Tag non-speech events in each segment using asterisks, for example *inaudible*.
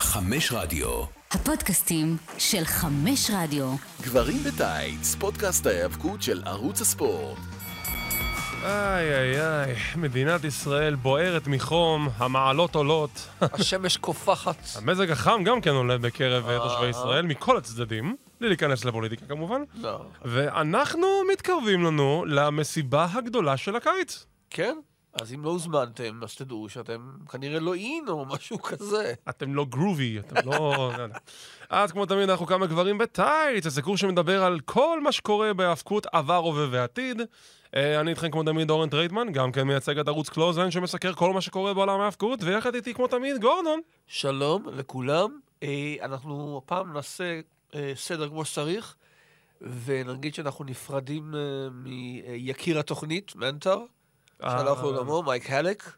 חמש רדיו. הפודקאסטים של חמש רדיו. גברים בטייץ, פודקאסט ההיאבקות של ערוץ הספורט. איי איי איי, מדינת ישראל בוערת מחום, המעלות עולות, השמש קופחת. המזג החם גם כן עולה בקרב אה, תושבי ישראל מכל הצדדים, בלי להיכנס לפוליטיקה כמובן, לא. ואנחנו מתקרבים לנו למסיבה הגדולה של הקיץ. כן? אז אם לא הוזמנתם, אז תדעו שאתם כנראה לא אין או משהו כזה. אתם לא גרובי, אתם לא... לא יודע. אז כמו תמיד, אנחנו כמה גברים בטייץ, הסיקור שמדבר על כל מה שקורה בהאבקות עבר, הווה ועתיד. אה, אני איתכם כמו תמיד אורן טרייטמן, גם כן מייצג את ערוץ קלוזליין שמסקר כל מה שקורה בעולם ההאבקות, ויחד איתי כמו תמיד גורדון. שלום לכולם. אה, אנחנו הפעם נעשה אה, סדר כמו שצריך, ונגיד שאנחנו נפרדים אה, מיקיר התוכנית, מנטר, אה. שהלך לעולמו, מייק הלק,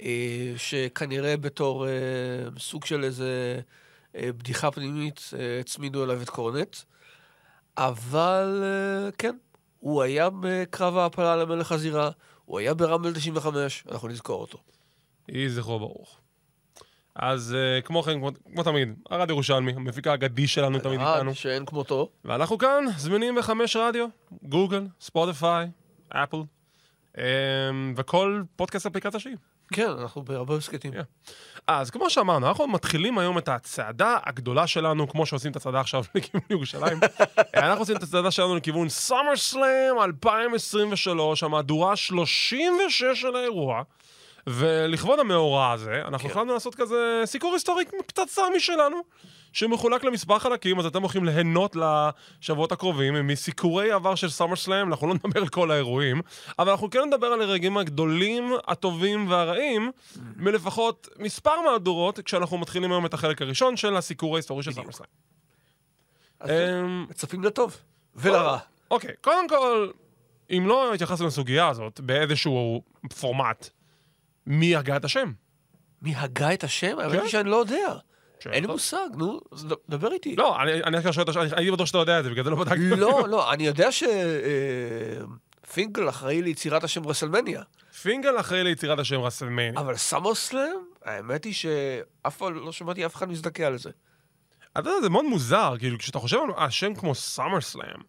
אה, שכנראה בתור אה, סוג של איזה אה, בדיחה פנימית אה, הצמידו אליו את קורנט, אבל אה, כן, הוא היה בקרב ההעפלה על המלך הזירה, הוא היה ברמבל 95, אנחנו נזכור אותו. יהי זכרו ברוך. אז uh, כמו כן, כמו, כמו תמיד, הרד ירושלמי, המפיקה האגדי שלנו תמיד עד איתנו. שאין כמותו. ואנחנו כאן, זמינים בחמש רדיו, גוגל, ספוטיפיי, אפל, um, וכל פודקאסט אפליקציה שהיא. כן, אנחנו בהרבה הסכתים. כן. אז כמו שאמרנו, אנחנו מתחילים היום את הצעדה הגדולה שלנו, כמו שעושים את הצעדה עכשיו *laughs* לכיוון ירושלים. אנחנו עושים את הצעדה שלנו לכיוון סאמר סלאם 2023, המהדורה ה-36 של האירוע. ולכבוד המאורע הזה, אנחנו כן. החלטנו לעשות כזה סיקור היסטורי פצצה משלנו, שמחולק למספר חלקים, אז אתם הולכים ליהנות לשבועות הקרובים מסיקורי עבר של סאמר סלאם, אנחנו לא נדבר על כל האירועים, אבל אנחנו כן נדבר על הרגעים הגדולים, הטובים והרעים, Mm. מלפחות מספר מהדורות, כשאנחנו מתחילים היום את החלק הראשון של הסיקור ההיסטורי של סאמר בדיוק. סלאם. אז כן, אמ, מצפים לטוב ולרע. אוקיי, קודם כל, אם לא התייחסנו לסוגיה הזאת באיזשהו פורמט, מי הגה את השם? מי הגה את השם? האמת כן. היא שאני לא יודע. אין לי שאלה. מושג, נו, אז ד- דבר איתי. לא, אני אני רק שואל את השאלה, אני- הייתי בטוח שאתה יודע את זה, בגלל זה לא בדקתי. לא, לא, אני יודע שפינגל אחראי ליצירת השם רסלמניה, *laughs* פינגל אחראי ליצירת השם רסלמני. אבל סמוסלם, האמת היא שאף פעם לא שמעתי אף אחד מזדכה על זה. אתה יודע, זה מאוד מוזר, כאילו, כשאתה חושב על השם כמו סאמר סלאם,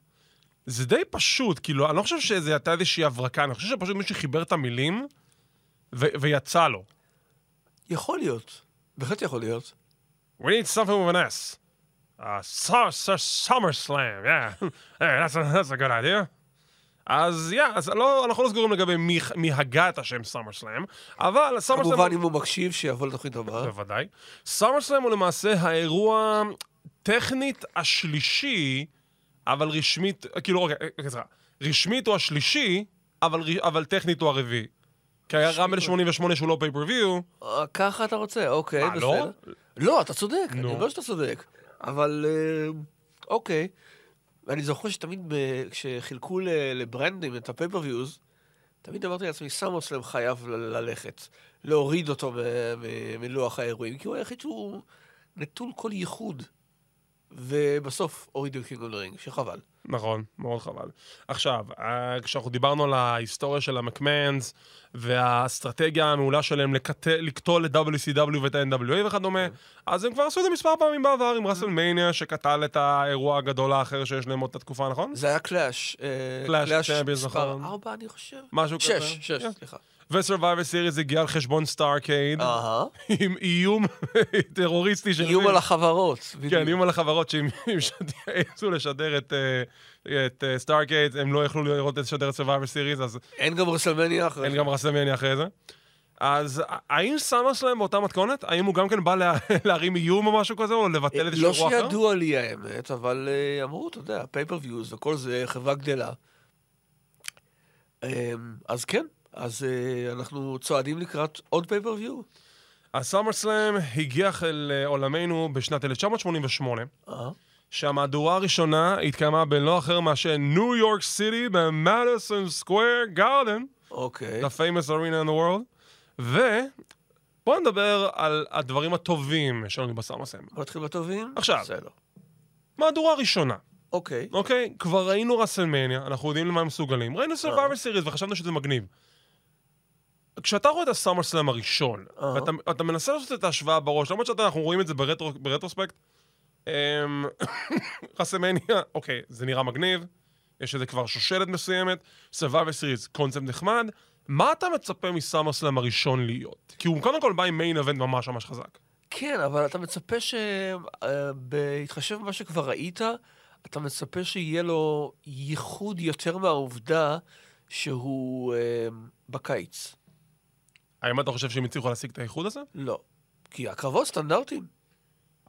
זה די פשוט, כאילו, אני לא חושב שזה הייתה איזושהי הברקה, אני חושב שפשוט מישהו חיבר את המילים ו- ויצא לו. יכול להיות, בהחלט יכול להיות. We need something with an S. Uh, su- su- summer slam, yeah. *laughs* hey, that's a, that's a good idea. אז, yeah, אז לא, אנחנו לא סגורים לגבי מי, מי הגה את השם סאמר סלאם, אבל סאמר סלאם... כמובן, אם הוא מקשיב, שיבוא לתוכנית הבאה. בוודאי. סאמר סלאם הוא למעשה האירוע טכנית השלישי, אבל רשמית, כאילו, אוקיי, אוקיי, סליחה. רשמית הוא השלישי, אבל, ר- אבל טכנית הוא הרביעי. כי היה רמבל 88 שהוא לא פייפריוויו, אה, ככה אתה רוצה, אוקיי, אה, לא? בסדר. לא, אתה צודק, אני נו. אומר שאתה צודק. אבל אה, אוקיי. ואני זוכר שתמיד ב- כשחילקו ל- לברנדים את הפייפריוויוז, תמיד אמרתי לעצמי, סמוסלם חייב ל- ללכת, להוריד אותו מ- מ- מלוח האירועים, כי הוא היחיד שהוא נטול כל ייחוד. ובסוף הורידו את קינג רינג, שחבל. נכון, מאוד חבל. עכשיו, אה, כשאנחנו דיברנו על ההיסטוריה של המקמנס והאסטרטגיה המעולה שלהם לקט... לקטול את WCW ואת ה-NWA וכדומה, אז הם כבר עשו את זה מספר פעמים בעבר עם ראסלמניה שקטל את האירוע הגדול האחר שיש להם עוד את התקופה, נכון? זה היה קלאש. אה, Clash קלאש Champions, מספר נכון. ארבע, אני חושב. משהו כזה. שש, שש, כן. סליחה. ו-Survivor Series הגיע על חשבון סטארקייד, אהה. עם איום *laughs* טרוריסטי של... אה. איום על החברות. בדיוק. כן, איום על החברות שאם אם שד- יעשו לשדר את, אה, את סטארקייד, הם לא יכלו לראות את שדר את Survivor Series, אז אין גם רסלמניה אחרי אין זה. גם רסלמניה אחרי זה. אז האם סאמר סלאם באותה מתכונת? האם הוא גם כן בא לה, *laughs* להרים איום או משהו כזה, או לבטל איזשהו לא אירוע אחר? שידוע לי האמת, אבל אה, אמרו, אתה יודע, פייפריוויוז וכל זה, חברה גדלה. אה, אז כן, אז אה, אנחנו צועדים לקראת עוד פייפריוויו. אז סאמר סלאם הגיח אל אה, עולמנו בשנת 1988, אה, שהמהדורה הראשונה התקיימה בלא אחר מאשר ניו יורק סיטי במדיסון סקוויר גארדן, אוקיי. the famous arena in the world, ובואו נדבר על הדברים הטובים שלנו בסאמר סלאם. בוא נתחיל בטובים. עכשיו. בסדר. מהדורה ראשונה. אוקיי. אוקיי, כבר ראינו רסלמניה, אנחנו יודעים למה הם מסוגלים. ראינו אה. סרווייבר סיריס וחשבנו שזה מגניב. כשאתה רואה את הסאמר סלאם הראשון, אהה. ואתה אתה מנסה לעשות את ההשוואה בראש, למרות שאנחנו רואים את זה ברטרו- ברטרוספקט, אמ, *coughs* רסמניה, אוקיי, זה נראה מגניב, יש איזה כבר שושלת מסוימת, סבבה סיריס, קונספט נחמד, מה אתה מצפה מסאמר סלאם הראשון להיות? כי הוא קודם כל בא עם מיין אבנט ממש ממש חזק. כן, אבל אתה מצפה ש... אה, בהתחשב במה שכבר ראית, אתה מצפה שיהיה לו ייחוד יותר מהעובדה שהוא אה, בקיץ. האם אתה חושב שהם הצליחו להשיג את האיחוד הזה? לא. כי הקרבות סטנדרטיים.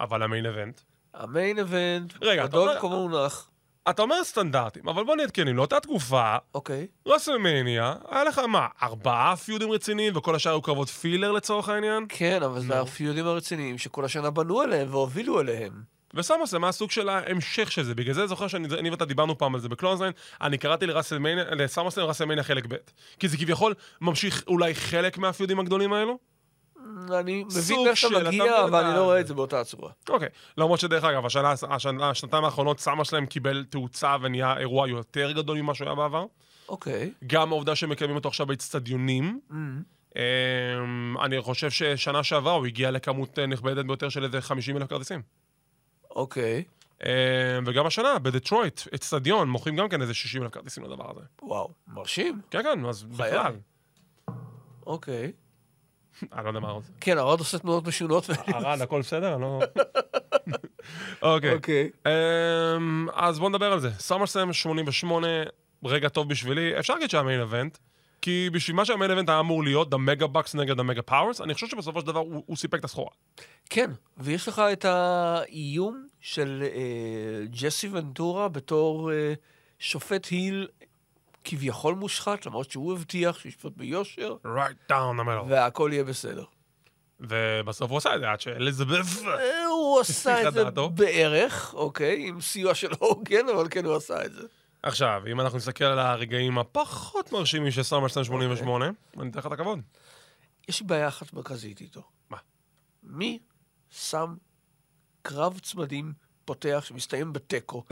אבל המיין אבנט. המיין איבנט, רגע, אתה אדון אומר- כמו מונח. לאותה אתה אומר סטנדרטים, אבל בוא נהיה תקנים, לאותה תקופה, אוקיי. רסלמניה, היה לך מה, ארבעה פיודים רציניים וכל השאר היו קרבות פילר לצורך העניין? כן, אבל זה הפיודים הרציניים שכל השנה בנו עליהם והובילו אליהם. וסמוס זה מהסוג של ההמשך של זה, בגלל זה אני זוכר שאני אני ואתה דיברנו פעם על זה בקלונזליין, אני קראתי לרסלמניה, לסמוסלם רסלמניה חלק ב', כי זה כביכול ממשיך אולי חלק מהפיודים הגדולים האלו? אני מבין סוג איך אתה של, אתה מגיע, מבין אבל את אני ה- לא רואה את זה באותה הצורה. אוקיי. למרות שדרך אגב, השנה, השנה, השנתיים האחרונות סמא שלהם קיבל תאוצה ונהיה אירוע יותר גדול ממה שהוא היה בעבר. אוקיי. גם העובדה שהם מקיימים אותו עכשיו באצטדיונים. Mm, אמ, אני חושב ששנה שעברה הוא הגיע לכמות אה, נכבדת ביותר של איזה 50 אלף כרטיסים. אוקיי. אמ, וגם השנה, בדטרויט, אצטדיון, מוכרים גם כן איזה 60 אלף כרטיסים לדבר הזה. וואו, מרשים. כן, כן, אז בכלל. אוקיי. אני לא יודע מה עוד. כן, הרד עושה תנועות משונות. ו- ארד, הכל בסדר? אני לא... *laughs* אוקיי. *laughs* אוקיי. אמ, אז בואו נדבר על זה. סמרסם 88, רגע טוב בשבילי. אפשר להגיד שהיה מיין אבנט, כי בשביל מה שהמיין אבנט היה אמור להיות, דה מגה בקס נגד דה מגה פאוורס, אני חושב שבסופו של דבר הוא הוא סיפק את הסחורה. כן, ויש לך את האיום של אה, ג'סי ונטורה בתור אה, שופט היל כביכול מושחת, למרות שהוא הבטיח שישפוט ביושר, Right down the middle. והכל יהיה בסדר. ובסוף הוא עשה את זה, עד שאליזבף... אה, הוא עשה את זה חטא דעתו. בערך, אוקיי, עם סיוע של הוגן, אבל כן, הוא עשה את זה. עכשיו, אם אנחנו נסתכל על הרגעים הפחות מרשימים של סמרסם 88, אני אתן לך את הכבוד. יש לי בעיה אחת מרכזית איתו. מה? מי שם קרב צמדים פותח *laughs* שמסתיים בתיקו,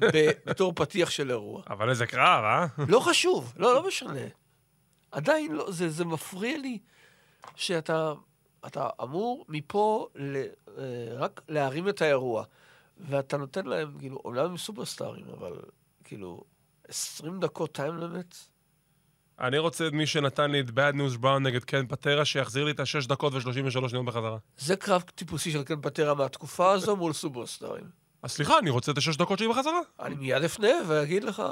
ב- בתור פתיח של אירוע? אבל איזה קרב, אה? לא חשוב, לא, לא משנה. עדיין לא, זה, זה מפריע לי שאתה אתה אמור מפה ל, אה, רק להרים את האירוע, ואתה נותן להם, כאילו, אומנם הם סופרסטארים, אבל כאילו, 20 דקות טיים למט? אני רוצה את מי שנתן לי את bad news brown נגד קן פטרה, שיחזיר לי את השש דקות ו-33 שניות בחזרה. זה קרב טיפוסי של קן פטרה מהתקופה הזו מול סופרסטארים. אז סליחה, אני רוצה את השש דקות שלי בחזרה. אני מיד אפנה ואגיד לך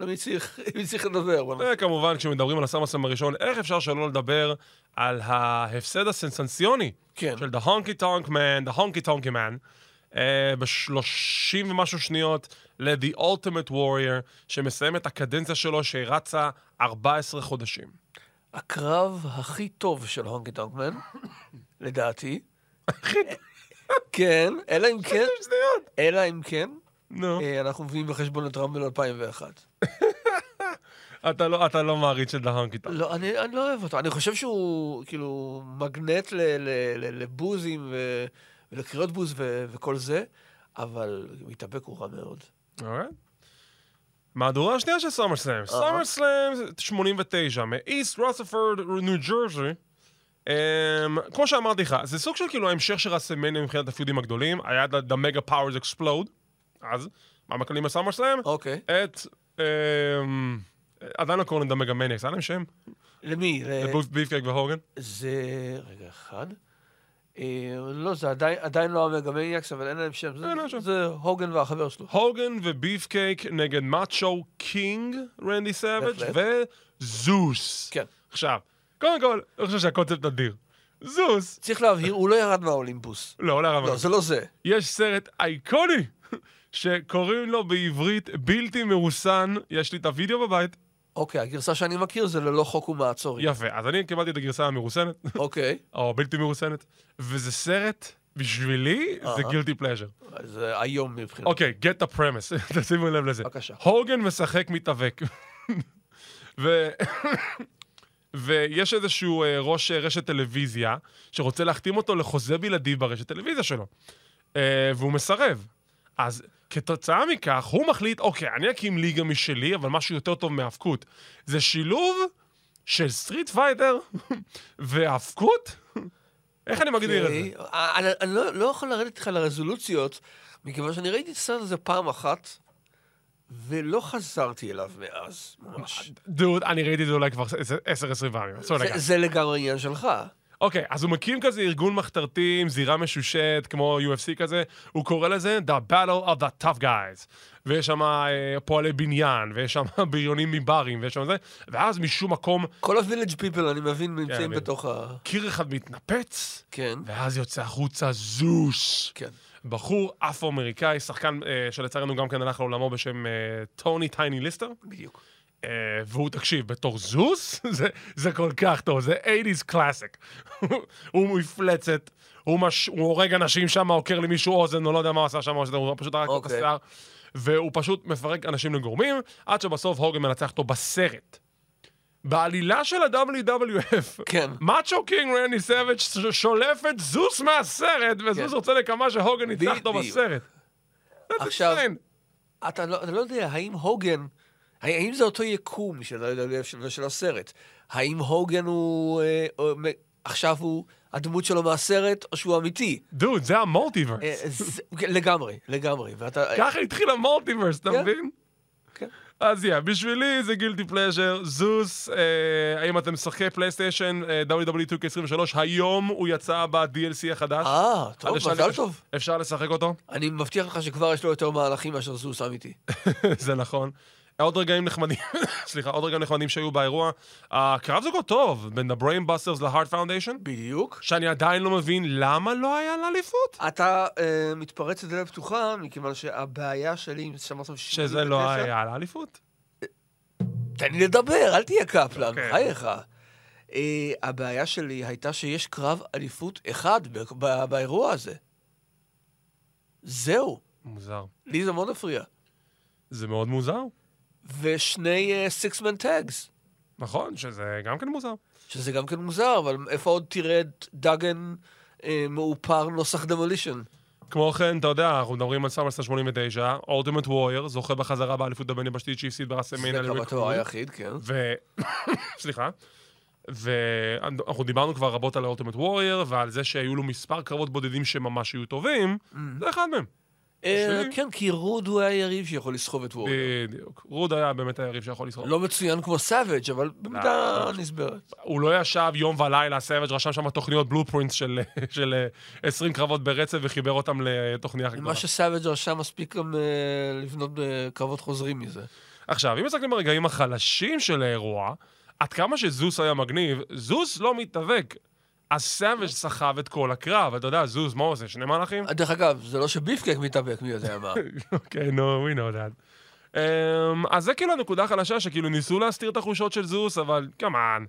למי צריך, למי צריך לדבר. אבל- וכמובן, כשמדברים על הסמסם הראשון, איך אפשר שלא לדבר על ההפסד הסנסנציוני כן. של The Honky Tonk Man, The Honky Tonky Man, אה, בשלושים ומשהו שניות ל-The Ultimate Warrior, שמסיים את הקדנציה שלו שרצה 14 חודשים. הקרב הכי טוב של הונקי טונקמן, *coughs* לדעתי. *coughs* כן, אלא אם כן, שניות! אלא אם כן, נו, אה, אנחנו מביאים בחשבון את רמבל 2001. אתה לא- אתה לא מעריץ של The Honky Tonk. לא, אני אני לא אוהב אותו. אני חושב שהוא כאילו מגנט ל- ל- ל- לבוזים ו- ולקריאות בוז ו- וכל זה, אבל מתאבק הוא רע מאוד. אוקיי. מהדורה השנייה של סאמר סלאם. סאמר סלאם 89, מאיסט רוספורד, ניו ג'רזי. Um, כמו שאמרתי לך, זה סוג של כאילו ההמשך של רסמניה מבחינת הפיודים הגדולים, היה את המגה פאוורס אקספלוד, אז, מה מקבלים בסאמר סלאם? אוקיי. את, um, עדיין לא קוראים להם מגה מניאקס, היה להם שם? למי? ל- ביפקק והוגן? זה... רגע אחד. אה, לא, זה עדיין- עדיין לא המגמניאקס, אבל אין להם שם. זה- אין להם שם. זה הוגן והחבר שלו. הוגן וביפקייק נגד מאצ'ו קינג, רנדי סאביג' בהחלט. וזוס. כן. עכשיו, קודם כל, אני חושב שהקונספט אדיר. זוס, צריך להבהיר, הוא לא ירד מהאולימפוס. לא, לא הרב. לא, זה לא זה. יש סרט אייקוני *laughs* שקוראים לו בעברית בלתי מרוסן, יש לי את הוידאו בבית. אוקיי, הגרסה שאני מכיר זה ללא חוק ומעצורים. יפה, אז אני קיבלתי את הגרסה המרוסנת, אוקיי. או הבלתי מרוסנת, וזה סרט, בשבילי, זה גילטי פלז'ר. אז זה היום מבחינת. אוקיי, get the premise, *laughs* תשימו לב לזה. בבקשה. הוגן משחק מתאבק. *laughs* ו... *coughs* ויש איזשהו אה, ראש אה, רשת טלוויזיה שרוצה להחתים אותו לחוזה בלעדי ברשת טלוויזיה שלו, אה, והוא מסרב. אז כתוצאה מכך, הוא מחליט, אוקיי, אני אקים ליגה משלי, אבל משהו יותר טוב מהאבקות. זה שילוב של סטריט פייטר *laughs* והאבקות? איך אני מגדיר את זה? אוקיי. אני אני לא- לא יכול לרדת איתך לרזולוציות, מכיוון שאני ראיתי את הסרט הזה פעם אחת, ולא חזרתי אליו מאז, אה, ממש. דוד, אני ראיתי את זה אולי כבר 10-20 פעמים. עשו אה, זה- לא לגמרי. זה לגמרי עניין שלך. אוקיי, אז הוא מקים כזה ארגון מחתרתי עם זירה משושת, כמו UFC כזה, הוא קורא לזה The Battle of the Tough Guys. ויש שם אה, פועלי בניין, ויש שם *laughs* בריונים מברים, ויש שם זה, ואז משום מקום כל ה-village people, אני מבין, נמצאים כן, אני מבין. בתוך ה... קיר אחד מתנפץ, כן, ואז יוצא החוצה זוש. כן. בחור אפרו-אמריקאי, שחקן אה, שלצערנו גם כן הלך לעולמו בשם אה, טוני טייני ליסטר. בדיוק. אה, והוא, תקשיב, בתור זוס, *laughs* זה, זה כל כך טוב, זה 80's קלאסיק. *laughs* הוא מפלצת, הוא, מש, הוא הורג אנשים שם, עוקר למישהו אוזן, או לא יודע מה הוא עשה שם, או שזה- הוא פשוט הרג לו את אוקיי. השיער. והוא פשוט מפרק אנשים לגורמים, עד שבסוף הוגן מנצח אותו בסרט. בעלילה של ה-WWF, כן. מאצ'ו קינג רני סאביג' ש- שולף את זוס מהסרט, וזוס כן. רוצה נקמה שהוגן ניצח אותו בדיוק. בסרט. אה, עכשיו, אין. אתה לא, אתה לא יודע, האם הוגן, האם זה אותו יקום של ה-WWF של- ושל הסרט? האם הוגן הוא, אה, או- מ- עכשיו הוא הדמות שלו מהסרט, או שהוא אמיתי? דוד, זה אה, המולטיברס. זה- כן, לגמרי, לגמרי. ואתה... אה, ככה התחיל המולטיברס, אתה כן. מבין? כן. אז יא, בשבילי זה גילטי פלז'ר, זוס, אה, האם אתם משחקי פלייסטיישן, אה, WWE 2K23, היום הוא יצא ב-DLC החדש. אה, טוב, אפשר- מזל טוב. אפשר לשחק אותו, *laughs* אני מבטיח לך שכבר יש לו יותר מהלכים מאשר זוס אמיתי. זה נכון. עוד רגעים נחמדים, *laughs* סליחה, עוד רגעים נחמדים שהיו באירוע. הקרב זוגות טוב, בין ה-Brain Busters ל-Heart Foundation, בדיוק. שאני עדיין לא מבין למה לא היה לה אליפות. אתה אה, מתפרץ לדלת פתוחה, מכיוון שהבעיה שלי, אם שמעתם שזה לא היה לה אליפות. תן לי לדבר, אל תהיה קפלן, אוקיי. בחייך. אה, הבעיה שלי הייתה שיש קרב אליפות אחד ב- ב- באירוע הזה. זהו, מוזר. לי זה מאוד הפריע. זה מאוד מוזר, ושני אה, סיקסמן טאגס, נכון? שזה גם כן מוזר. שזה גם כן מוזר, אבל איפה עוד תראה את דאגן אה, מאופר נוסח דמולישן? כמו כן, אתה יודע, אנחנו מדברים על סמרסטר 89, אולטימט וורייר, זוכה בחזרה באליפות הבין יבשתית שהפסיד זה בראסלמניה לריק קרבתו פלוג. היחיד, כן. ו... *coughs* סליחה. ואנחנו דיברנו כבר רבות על אולטימט וורייר, ועל זה שהיו לו מספר קרבות בודדים שממש היו טובים, Mm. זה אחד מהם. אה, שלי. כן, כי רוד הוא היה יריב שיכול לסחוב את אה. ווריור. בדיוק. רוד היה באמת היריב שיכול לסחוב. לא מצוין כמו סאביג', אבל במידה נסברת. הוא לא ישב יום ולילה, סאביג' רשם שם תוכניות בלופרינטס של, *laughs* של אה, 20 קרבות ברצף וחיבר אותם לתוכניה אחת גדולה. מה שסאביג' רשם מספיק גם אה, לבנות אה, קרבות חוזרים מזה. עכשיו, אם מסתכלים ברגעים החלשים של האירוע, עד כמה שזוס היה מגניב, זוס לא מתאבק. אז סאביג' סחב את כל הקרב, אתה יודע, זוס, מה הוא עושה? שני *laughs* מהלכים? דרך אגב, זה לא שביפקק מתאבק, מי *laughs* יודע מה. אוקיי, נו, we know that. אמ, אז זה כאילו הנקודה החלשה, שכאילו ניסו להסתיר את החושות של זוס, אבל כמובן.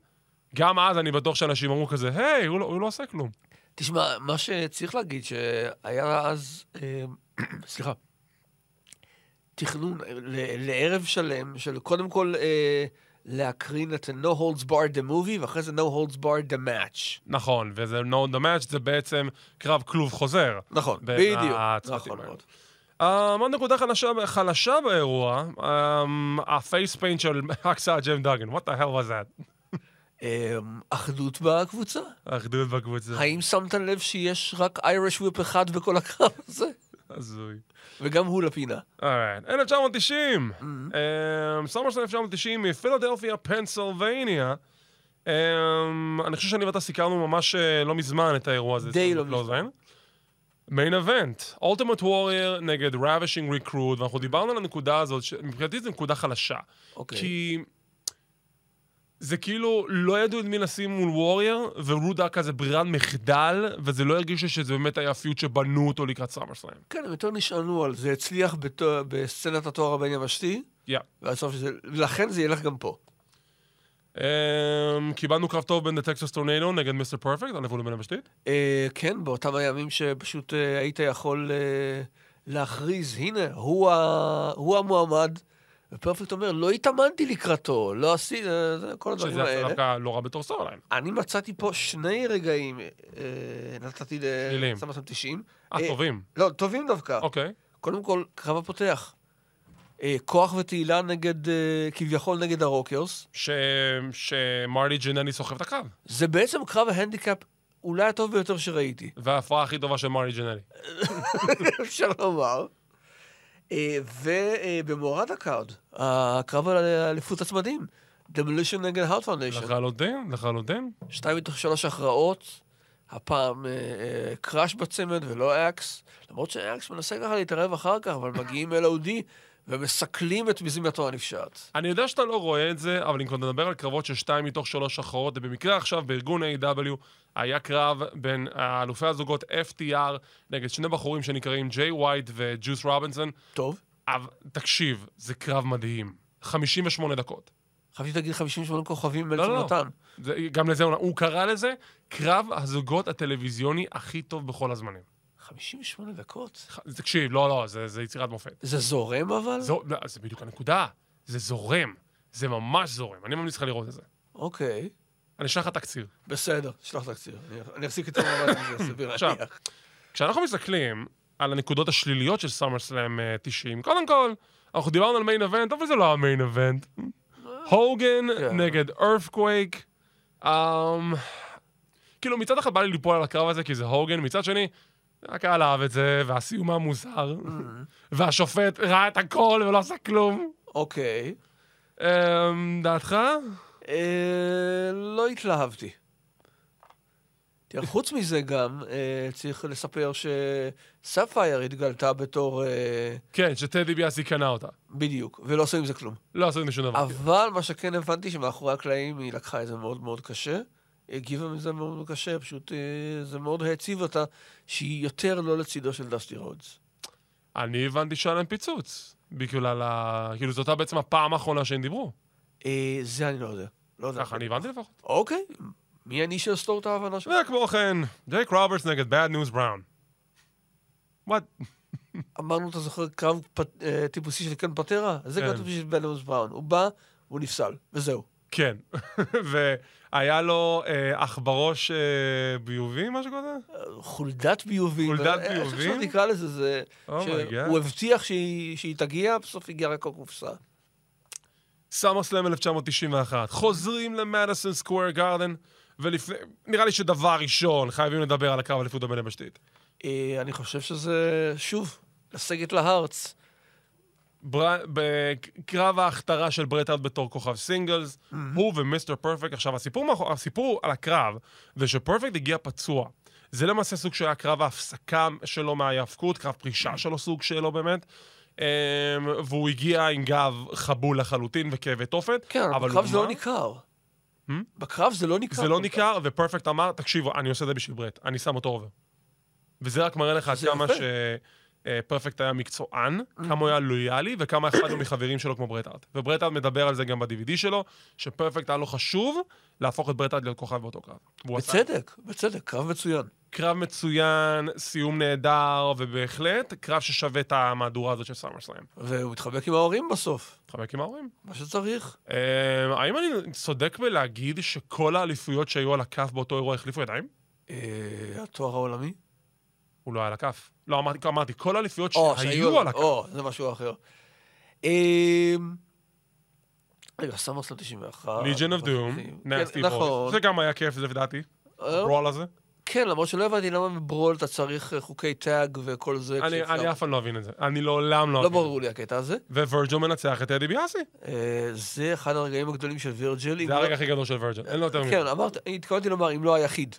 גם אז אני בטוח שאנשים אמרו כזה, היי, הוא לא- הוא לא עושה כלום. תשמע, מה שצריך להגיד, שהיה אז, אה, *clears throat* סליחה, תכנון ל- לערב שלם, של קודם כל אה, להקרין את ה-No Holds Bar the Movie, ואחרי זה No Holds Bar the Match. נכון, וזה no the match, זה בעצם קרב כלוב חוזר. נכון, בין בדיוק, הצוותים נכון האלה. מאוד. אמ, עוד נקודה חלשה, חלשה באירוע, אמ, הפייס פיינט של *laughs* אקסה ג'ם דאגן, what the hell was that? אה, אחדות בקבוצה? האחדות בקבוצה, האם שמת לב שיש רק איירש וויפ אחד בכל הקרב הזה? הזוי. וגם הוא לפינה. אורייט, 1990, Mm-hmm. אמ, סמר של 1990 מפילדלפיה, פנסילבניה. אמ, אני חושב שאני ואתה סיקרנו ממש אה, לא מזמן את האירוע הזה. די אצלנו לא מזמן. בקלוזליין. מיין אבנט, אולטימט וורייר נגד ראבישינג ריקרוט, ואנחנו דיברנו על הנקודה הזאת, שמבחינתי זו נקודה חלשה. אוקיי. כי זה כאילו לא ידעו את מי לשים מול וורייר, ורוד היה כזה ברירת מחדל, וזה לא הרגיש לי שזה באמת היה פיוט שבנו אותו לקראת סאמר סלאם. כן, הם יותר נשענו על זה, הצליח בתו- בסצנת התואר הבין יבשתי, יא. והסוף שזה, ולכן זה ילך גם פה. אמ, קיבלנו קרב טוב בין The Texas Tornado נגד מיסטר פרפקט, הלבול לבין הבשתית. אה, כן, באותם הימים שפשוט אה, היית יכול אה, להכריז, הנה, הוא, ה, הוא המועמד, ופרפקט אומר, לא התאמנתי לקראתו, לא עשיתי, אה, זה, כל הדברים שזה יצא האלה. דווקא לא רע בתור סורליין. אני מצאתי פה שני רגעים, אה, נתתי שליליים. ל... שמת שם 90. אה, אה, טובים. לא, טובים דווקא. אוקיי. קודם כל, קרב הפותח. אה, כוח ותהילה נגד, אה, כביכול נגד הרוקרס. ש... שמרלי ג'נני סוחב את הקו. זה בעצם קרב ההנדיקאפ אולי הטוב ביותר שראיתי, וההפרעה הכי טובה של מרלי ג'נני. *laughs* אפשר לומר. אה, ובמורד הקארד, הקרב על אליפות הצמדים, דמולישן נגד הארד פאונדיישן. לחלוטין, לחלוטין. שתיים מתוך שלוש הכרעות, הפעם אה, אה, קראש בצמד ולא אקס, למרות שאקס מנסה ככה להתערב אחר כך, אבל מגיעים LOD ומסכלים את מזימתו הנפשעת. אני יודע שאתה לא רואה את זה, אבל אם כבר נדבר על קרבות של שתיים מתוך שלוש הכרעות, ובמקרה עכשיו בארגון A.W. היה קרב בין אלופי הזוגות FTR נגד שני בחורים שנקראים ג'יי ווייט וג'וס רובינסון. טוב, אבל תקשיב, זה קרב מדהים. 58 דקות. חשבתי להגיד 58 כוכבים בן לא, לא, לא. נתן. זה, גם לזה, הוא- הוא קרא לזה קרב הזוגות הטלוויזיוני הכי טוב בכל הזמנים. 58 דקות? ח- תקשיב, לא, לא, זה, זה יצירת מופת. זה זורם אבל? זו, לא, זה בדיוק הנקודה. זה זורם. זה ממש זורם. אני ממליץ לך לראות את זה. אוקיי, אני אשלח לך תקציר. בסדר, שלח תקציר. אני- אני אחזיק את המבט *laughs* הזה, סביר עכשיו, להניח. כשאנחנו מסתכלים על הנקודות השליליות של סאמר סלאם 90, קודם כל, אנחנו דיברנו על מיין אבנט, אבל זה לא המיין אבנט. הוגן כן. נגד ארפקווייק. Um, כאילו, מצד אחד בא לי ליפול על הקרב הזה כי זה הוגן, מצד שני, הקהל אהב את זה, והסיום היה מוזר, Mm. והשופט ראה את הכל ולא עשה כלום. אוקיי. Um, דעתך? אה, לא התלהבתי. תראה, חוץ מזה גם, אה, צריך לספר שספייר התגלתה בתור... אה, כן, שטדי ביאסי קנה אותה. בדיוק, ולא עשו עם זה כלום. לא עשו עם זה שום דבר. אבל מה שכן הבנתי, שמאחורי הקלעים היא לקחה את זה מאוד מאוד קשה. הגיבה מזה מאוד מאוד קשה, פשוט אה, זה מאוד העציב אותה, שהיא יותר לא לצידו של דסטי רודס. אני הבנתי שהיה להם פיצוץ. בגלל ה... כאילו, זאת הייתה בעצם הפעם האחרונה שהם דיברו. אה, זה אני לא יודע. לא יודע. ככה אני הבנתי לפחות. אוקיי, מי אני שאסתור את ההבנה שלך? וכמו כן, ג'ייק רוברטס נגד bad news brown. וואט? אמרנו, אתה זוכר קרב פ- אה, טיפוסי של קן פטרה? זה כן. קרב טיפוסי של בן אמוס בראון. הוא בא, הוא נפסל, וזהו. כן. *laughs* והיה לו אה, אח בראש אה, ביובי, משהו כזה? אה, חולדת ביובים. חולדת אה, איך ביובים? עכשיו נקרא לזה? זה... Oh אומייגאד. שהוא הבטיח שהיא שהיא תגיע, בסוף הגיעה רק הקופסה. סאמרסלאם 1991. חוזרים למדיסון סקוואר גארדן, ולפני... נראה לי שדבר ראשון, חייבים לדבר על הקרב אליפות הבין יבשתית. אה, אני חושב שזה, שוב, לסגת להרץ. בר... בקרב ההכתרה של ברטארד בתור כוכב סינגלס, Mm-hmm. הוא ומיסטר פרפקט. עכשיו, הסיפור, מאחור... הסיפור על הקרב זה שפרפקט הגיע פצוע. זה למעשה סוג שהיה קרב ההפסקה שלו מההיאבקות, קרב Mm-hmm. פרישה שלו סוג שלו באמת. אמ, והוא הגיע עם גב חבול לחלוטין וכאבי תופת. כן, אבל אבל בקרב זה הוא לא אמר- ניכר. בקרב זה לא ניכר. זה לא ניכר, ופרפקט אמר, תקשיבו, אני עושה את זה בשביל ברט, אני שם אותו אובר. וזה רק מראה לך עד זה כמה יפה. אה. שפרפקט היה מקצוען, כמה הוא היה לויאלי, וכמה אחד הוא מחברים שלו כמו ברטארד. וברטארד מדבר על זה גם ב-DVD שלו, שפרפקט היה לו חשוב להפוך את ברטארד להיות כוכב באותו קרב. והוא עשה. בצדק, בצדק, קרב מצוין. קרב מצוין, סיום נהדר, ובהחלט קרב ששווה את המהדורה הזאת של סאמר סלאם. והוא מתחבק עם ההורים בסוף, מתחבק עם ההורים. מה שצריך. אמ, האם אני צודק בלהגיד שכל האליפויות שהיו על הכף באותו אירוע החליפו ידיים? אה, התואר העולמי? הוא לא היה על הכף. לא, אמרתי, אמרתי, כל האליפויות או, שהיו על הכף. או, זה משהו אחר. אמ, רגע, לא סמרסלאם 91. Legion of Doom, כן, נסטי אה, נכון. ברוס. זה גם היה כיף, זה לדעתי, אה, הברול הזה. כן, למרות שלא הבנתי למה בברול אתה צריך אה, חוקי טאג וכל זה. אני- כשאפשר- אני אף פעם לא אבין את זה. אני לעולם לא לא אבין את ברור לי הקטע הזה. זה. ווירג'ל מנצח את אדי ביאסי. אה, זה אחד הרגעים הגדולים של וירג'ל. אם זה לא- הרגע הכי גדול של וירג'ל, אין לו יותר מזה. כן, אמרת, התכוונתי לומר, אם לא היחיד.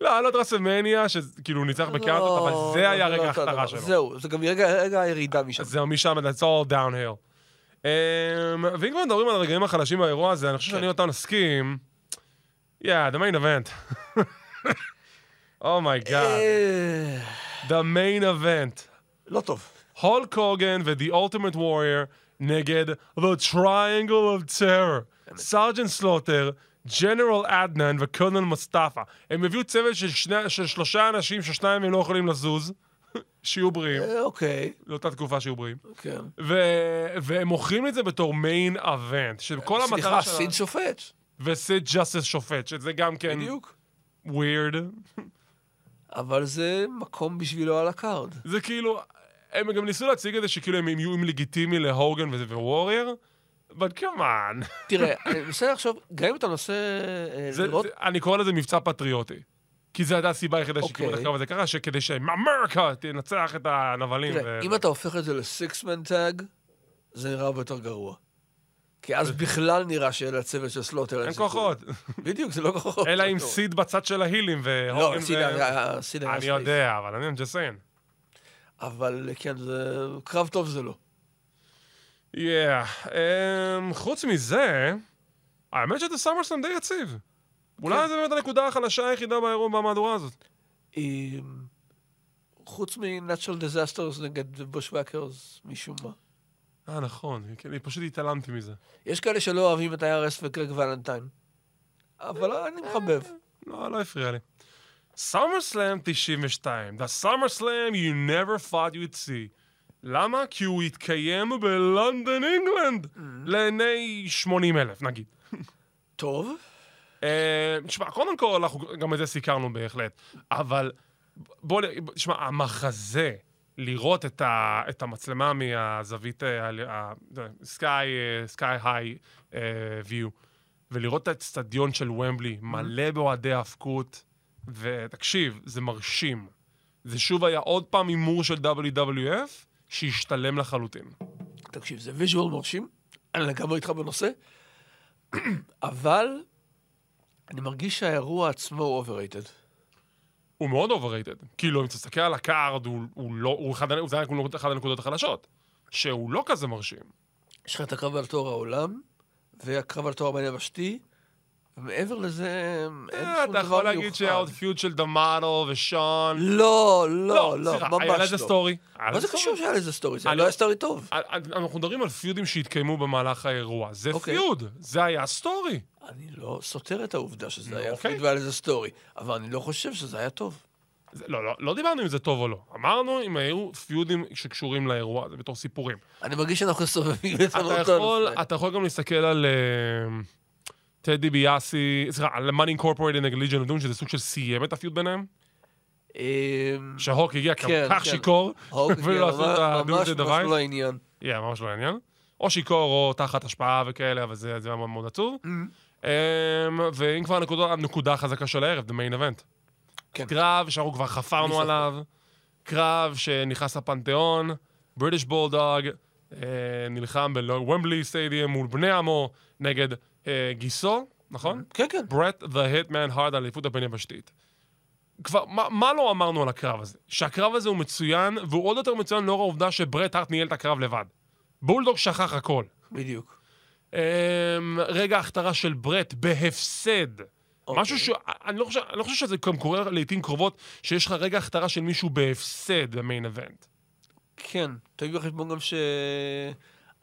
לא, היה לו את רסלמניה, שכאילו הוא ניצח בקארטות, אבל לא, זה היה לא, רגע לא אותו ההכתרה הדבר. שלו. זהו, זה גם רגע רגע הירידה משם. אז זהו, משם, that's all downhill. אמ, ואם כבר מדברים על הרגעים החלשים באירוע הזה, אני חושב כן. שאני ואתה נסכים. Yeah, the main event. *laughs* Oh אומייגאד. אה, The main event. לא טוב. הולק הוגן ו-The Ultimate Warrior נגד The Triangle of Terror. סרג'נט סלוטר, ג'נרל עדנן וקונל מוסטפא. הם הביאו צוות של, שני, של שלושה אנשים ששניים הם לא יכולים לזוז, *laughs* שיהיו בריאים, אה, אוקיי, לאותה תקופה שיהיו בריאים. כן. ו... והם מוכרים את זה בתור מיין אבנט, שכל סליחה, המטרה שלה... סין שופט. וסיד ג'סס שופט, שזה גם כן... בדיוק. ווירד. אבל זה מקום בשבילו על הקארד. זה כאילו... הם גם ניסו להציג את זה שכאילו הם יהיו עם לגיטימי להוגן וווריר, but come on. תראה, *laughs* אני מנסה לחשוב, גם אם אתה מנסה אה, זה- לראות... זה- אני קורא לזה מבצע פטריוטי. כי זו הייתה הסיבה היחידה שכאילו את אוקיי. הקרב הזה קרה, שכדי שאמריקה תנצח את הנבלים. תראה, ו- אם אתה הופך את זה לסיקסמן טאג, זה נראה הרבה יותר גרוע. *laughs* כי אז בכלל נראה שלצוות של סלוטר אין סיכוי. כוחות. בדיוק, זה לא כוחות. אלא עם לא. סיד בצד של ההילים והוגן לא, סינה, סינה. היה אני ספייס. יודע, אבל אני מג'סיין. אבל כן, זה... קרב טוב זה לא. Yeah. אמ, חוץ מזה, האמת שזה סמרסלאם די יציב. כן. אולי זה באמת הנקודה החלשה היחידה באירוע במהדורה הזאת. עם- חוץ מ-Natural Disasters נגד בושווקרס, משום מה. אה, נכון, כן, אני פשוט התעלמתי מזה. יש כאלה שלא אוהבים את ה-IRS וקרק ולנטיין. אבל אני אה, מחבב. לא, לא הפריע לי. סמרסלאם 92, The SummerSlam you never thought you'd see. למה? כי הוא התקיים בלונדון, אינגלנד, לעיני 80 אלף, נגיד. טוב. אה, תשמע, קודם כל, אנחנו גם את זה סיקרנו בהחלט, אבל בוא, נ- תשמע, המחזה, לראות את, ה, את המצלמה מהזווית, אה, סקאי, סקאי היי ויו, אה, ולראות את האצטדיון של ומבלי, מלא באוהדי האבקות, ותקשיב, זה מרשים. זה שוב היה עוד פעם הימור של WWF, שהשתלם לחלוטין. תקשיב, זה ויז'ואל מרשים, אני לגמרי איתך בנושא, *clears throat* אבל אני מרגיש שהאירוע עצמו הוא overrated. הוא מאוד אוברייטד. כאילו, אם תסתכל על הקארד, הוא, הוא לא, הוא אחד, ה- זה היה כאילו אחת הנקודות החלשות. שהוא לא כזה מרשים. יש לך את הקרב על תואר העולם, והקרב על תואר בין יבשתי, ומעבר לזה, אין אה, שום אתה דבר יכול להגיד מיוחד. שהאוטפיוט של דמארו ושון... לא, לא, לא, סליחה, היה ממש לזה לא. סטורי. היה מה לזה זה סטורי. קשור שהיה לזה סטורי? זה אני לא לא- היה סטורי טוב. אנחנו מדברים על פיודים שהתקיימו במהלך האירוע. זה אוקיי. פיוד, זה היה סטורי. אני לא סותר את העובדה שזה היה אוקיי. פיד והיה לזה סטורי, אבל אני לא חושב שזה היה טוב. זה- לא, לא, לא דיברנו אם זה טוב או לא. אמרנו אם היו פיודים שקשורים לאירוע, זה בתור סיפורים. אני מרגיש שאנחנו *laughs* סובבים את אתה הנושא. יכול, אתה יכול גם להסתכל על אה, טדי ביאסי, סליחה, על מאני אינקורפורטד נגד ליג'ן אדום, שזה סוג של סיים את הפיוד ביניהם. אמ, שההוק הגיע כן, כל כך כן. שיכור, הוק, *laughs* ולא כן, עשו את ממש ה-do the ממש לא device. העניין. כן, ממש לא העניין. או שיכור או תחת השפעה וכאלה, אבל זה זה היה מאוד מאוד עצוב. אמ, ואם כבר הנקודה- הנקודה החזקה של הערב, the main event. כן. קרב שאנחנו כבר חפרנו ספק. עליו, קרב שנכנס לפנתיאון, בריטיש בולדוג, נלחם בוומבלי סטדיאם מול בני עמו נגד אה, גיסו, נכון? כן, כן. ברט the Hitman Hard על אליפות הבין יבשתית. כבר, מה, מה לא אמרנו על הקרב הזה? שהקרב הזה הוא מצוין, והוא עוד יותר מצוין לאור העובדה שברט הארט ניהל את הקרב לבד. בולדוג שכח הכל. בדיוק. אמ, רגע ההכתרה של ברט בהפסד. משהו ש... אני לא חושב, אני לא חושב שזה גם קורה לעיתים קרובות, שיש לך רגע הכתרה של מישהו בהפסד במיין איבנט. כן, תביא בחשבון גם ש...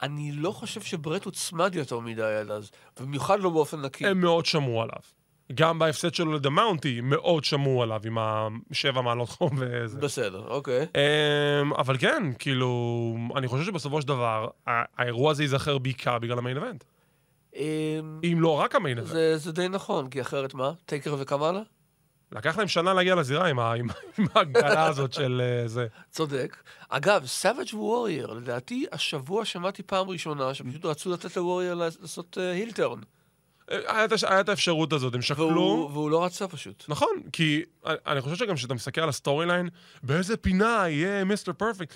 אני לא חושב שברט הוצמד יותר מדי עד אז, במיוחד לא באופן נקי. הם מאוד שמעו עליו. גם בהפסד שלו לדמאונטי, מאוד שמעו עליו עם השבע מעלות חום וזה. בסדר, אוקיי. אמ, אבל כן, כאילו, אני חושב שבסופו של דבר, ה- האירוע הזה ייזכר בעיקר בגלל המיין איבנט. אמ, אם לא רק המיין איבנט. זה זה די נכון, כי אחרת מה? טייקר וקמאלה? לקח להם שנה להגיע לזירה עם ה- עם ה- עם *laughs* ההגדלה הזאת של אה, זה. צודק. אגב, סאביג' וורייר, לדעתי השבוע שמעתי פעם ראשונה שפשוט רצו לתת לוורייר לעשות הילטרן. אה, היה את הש- היה את האפשרות הזאת, הם שקלו. והוא לא רצה פשוט. נכון, כי אני- אני חושב שגם כשאתה מסתכל על הסטורי ליין, באיזה פינה יהיה מיסטר פרפקט,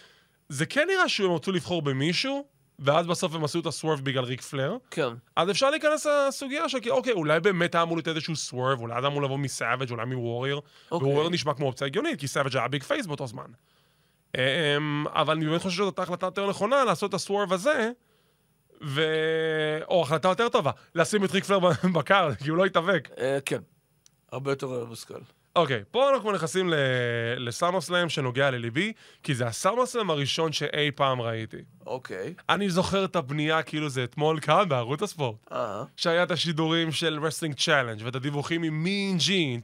זה כן נראה שהם רצו לבחור במישהו, ואז בסוף הם עשו את הסוורף בגלל ריק פלר. כן. אז אפשר להיכנס לסוגיה של כאילו, אוקיי, אולי באמת היה אמור להיות איזשהו סוורב, אולי זה אמור לבוא מסאביג', אולי מוורייר, אוקיי. וורייר נשמע כמו אופציה הגיונית, כי סאביג' היה ביג פייס באותו זמן. אמ, אבל אני באמת חושב שזאת הייתה החלטה יותר נכונה לעשות את הסוורב הזה, ו... או החלטה יותר טובה, לשים את ריק פלר *laughs* בקר, כי הוא לא התאבק. אה, כן. הרבה יותר מושכל. אוקיי, פה אנחנו נכנסים ל- לסאמרסלאם שנוגע לליבי, כי זה הסאמרסלאם הראשון שאי פעם ראיתי. אוקיי. אני זוכר את הבנייה כאילו זה אתמול כאן בערוץ הספורט. אה. שהיה את השידורים של רסלינג צ'אלנג' ואת הדיווחים עם מין ג'ין.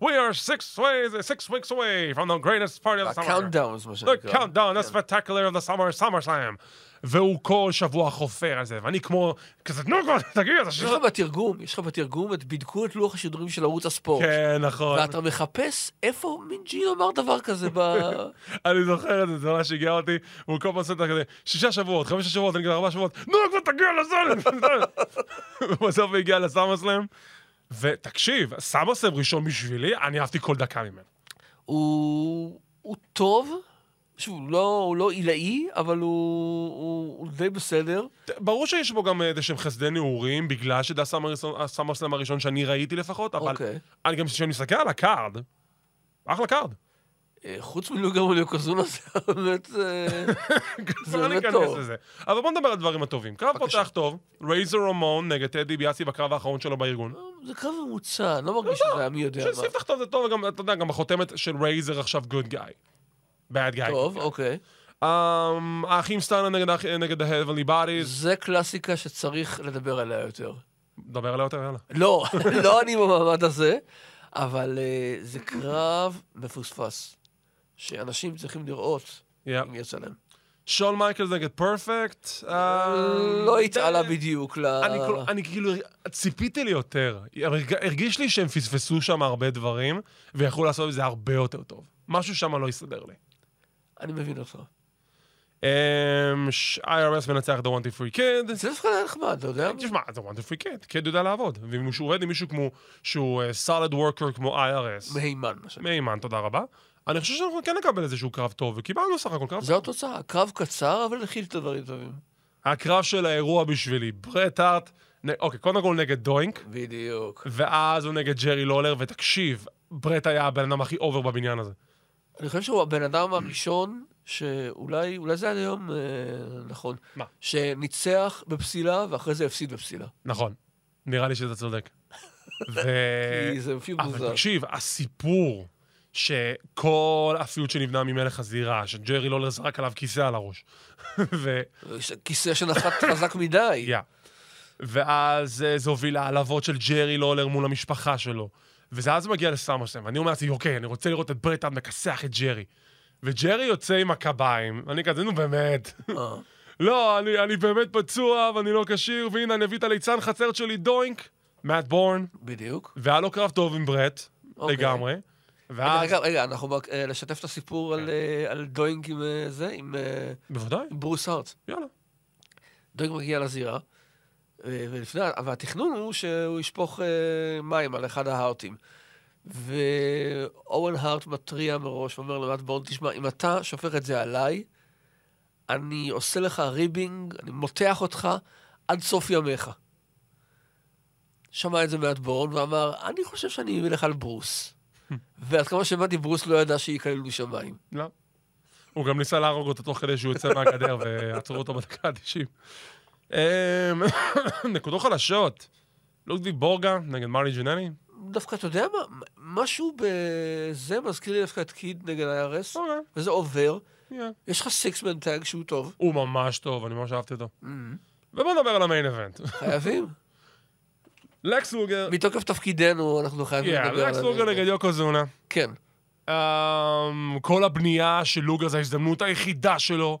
We are six, ways, six weeks away from the greatest party of the summer. ה-countdown, מה שנקרא. The countdown, the spectacular of the summer, SummerSlam. והוא כל שבוע חופר על זה, ואני כמו, כזה, נו כבר, תגיד, אתה יש לך בתרגום, יש לך בתרגום, את- בדקו את לוח השידורים של ערוץ הספורט. כן, נכון. ואתה מחפש איפה מינג'י אמר דבר כזה ב... *laughs* אני זוכר את זה, זה ממש הגיע אותי, והוא כל פעם עושה את זה כזה, שישה שבועות, חמישה שבועות, אני כבר ארבעה שבועות, נו, כבר תגיע לסלם! *laughs* ובסוף הוא הגיע לסמאסלם, ותקשיב, סמאסלם ראשון בשבילי, אני אהבתי כל דקה ממנו. הוא הוא טוב, שוב, הוא לא- הוא לא עילאי, אבל הוא- הוא הוא די בסדר. ברור שיש בו גם איזה שהם חסדי נעורים, בגלל שזה הסאמר- הסאמרסלאם הראשון שאני ראיתי לפחות, אבל אוקיי. אני גם, כשאני מסתכל על הקארד, אחלה קארד. אה, חוץ מלוגר וליוקוזונה זה באמת... *laughs* אה, זה כבר באמת ניכנס טוב. לזה. אבל בוא נדבר על דברים הטובים. קרב פותח טוב, רייזר רומון נגד טדי ביאסי בקרב האחרון שלו בארגון. זה קרב ממוצע, אני לא מרגיש שזה היה מי יודע של מה. ספתח טוב זה טוב, וגם, אתה יודע, גם החותמת של רייזר עכשיו גוד גאי. bad guy. טוב, אוקיי. אמ, האחים סטאנה נגד האח- נגד ה-Heavenly Bodies, זה קלאסיקה שצריך לדבר עליה יותר. דבר עליה יותר, יאללה. לא, *laughs* לא אני במעמד הזה, אבל אה, זה קרב מפוספס, שאנשים צריכים לראות יפ. אם יצא להם. שון מייקלס נגד פרפקט. לא התעלה בדיוק ל... אני, כל- אני כאילו ציפיתי לי יותר. הרג- הרגיש לי שהם פספסו שם הרבה דברים, ויכלו לעשות את זה הרבה יותר טוב. משהו שם לא הסתדר לי. אני מבין אותך. אמ, ש- IRS מנצח The Wanted Free Kid. זה דווקא היה נחמד, אתה יודע? תשמע, The Wanted Free Kid, קד יודע לעבוד. ואם הוא עובד עם מישהו כמו, שהוא סולד וורקר כמו IRS, מהימן, מה שאני... מהימן, תודה רבה, אני חושב שאנחנו כן נקבל איזשהו קרב טוב, וקיבלנו סך הכל קרב. זו התוצאה, קרב קצר, אבל הכיל את הדברים טובים. הקרב של האירוע בשבילי, ברט הארט, נ- אוקיי, קודם כל נגד דוינק, בדיוק. ואז הוא נגד ג'רי לולר, ותקשיב, ברט היה הבן אדם הכי אובר בבניין הזה. אני חושב שהוא הבן אדם הראשון, שאולי, אולי זה עד היום, אה, נכון. מה? שניצח בפסילה, ואחרי זה הפסיד בפסילה. נכון, נראה לי שאתה *laughs* צודק. ו... כי זה מפיל אבל מוזר. תקשיב, הסיפור שכל הפיוט שנבנה ממלך הזירה, שג'רי לולר זרק עליו כיסא על הראש. *laughs* ו... יש כיסא שנחת חזק מדי. יא. ואז אה, זה הוביל להעלבות של ג'רי לולר מול המשפחה שלו. וזה אז מגיע לסמרסם, ואני אומר לעצמי, אוקיי, אני רוצה לראות את ברטה מכסח את ג'רי. וג'רי יוצא עם הקביים, ואני כזה, נו באמת. *laughs* אה. לא, אני, אני באמת פצוע, ואני לא כשיר, והנה, אני אביא את הליצן חצר שלי, דוינק, מאט בורן, בדיוק. והיה לו קרב טוב עם ברט, אוקיי. לגמרי. ואז... רגע, רגע, אנחנו בא- אה, לשתף את הסיפור על, אה, על דוינג עם אה, זה, עם אה, בוודאי, עם ברוס הארט. יאללה. דוינג מגיע לזירה, אה, ולפני, והתכנון הוא שהוא ישפוך אה, מים על אחד ההארטים. ואורן הארט מתריע מראש ואומר למט בורן, תשמע, אם אתה שופך את זה עליי, אני עושה לך ריבינג, אני מותח אותך עד סוף ימיך. שמע את זה מעט בורן ואמר, אני חושב שאני אלך על ברוס. ועד כמה שהבנתי, ברוס לא ידע שיקללו שמיים. לא. הוא גם ניסה להרוג אותו תוך כדי שהוא יוצא מהגדר *laughs* ועצרו אותו בדקה ה-90. אמ, *coughs* נקודות חלשות. לודווי בורגה נגד מרי ג'נני. דווקא, אתה יודע מה? משהו בזה מזכיר לי דווקא את קיד נגד ה-IRS. אוקיי, וזה עובר, יהיה. יש לך סיקסמן טאג שהוא טוב, הוא ממש טוב, אני ממש אהבתי אותו. ובואו נדבר על המיין איבנט. *laughs* חייבים. לקס לוגר, מתוקף תפקידנו אנחנו חייבים כן, לדבר לקס לוגר על נגד יוקוזונה. כן, אמ, כל הבנייה של לוגר זו ההזדמנות היחידה שלו,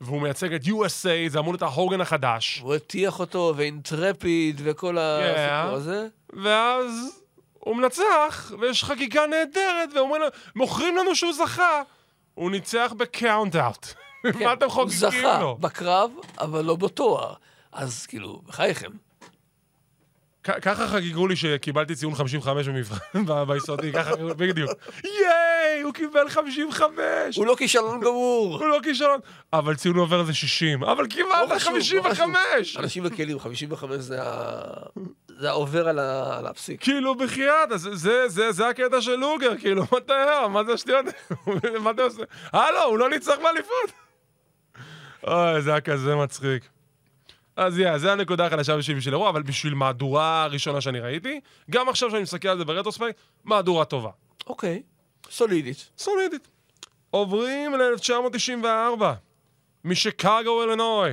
והוא מייצג את USA, זה אמור להיות ההוגן החדש. הוא הטיח אותו, ואינטרפיד, וכל הסיפור הזה. ואז הוא מנצח, ויש חגיגה נהדרת, ואומרים לנו, מוכרים לנו שהוא זכה. הוא ניצח בקאונט אאוט. *laughs* כן, מה אתם הוא חוגגים זכה לו? בקרב, אבל לא בתואר. אז כאילו, בחייכם. כ- ככה חגגו לי שקיבלתי ציון 55 במבחן *laughs* ב- ביסודי, ככה, בדיוק. ייי, הוא קיבל 55! הוא לא כישלון *laughs* גמור. הוא לא כישלון. אבל ציון עובר זה 60. אבל לא קיבלת חשוב, לא חשוב. 55! אנשים בכלים, 55 זה ה... זה העובר על ה- על הפסיק. כאילו בחייאת, אז זה, זה, זה הקטע של לוגר, כאילו, *laughs* מה אתה יודע, מה זה השטויות? האלה? *laughs* מה אתה עושה? הלו, הוא לא ניצח באליפות. *laughs* אוי, זה היה כזה מצחיק. אז יא, זה הנקודה החלשה בשביל בשביל אירוע, אבל בשביל מהדורה הראשונה שאני ראיתי, גם עכשיו שאני מסתכל על זה ברטרוספקט, מהדורה טובה. אוקיי, סולידית. סולידית. עוברים ל-1994, משיקגו, אלינוי.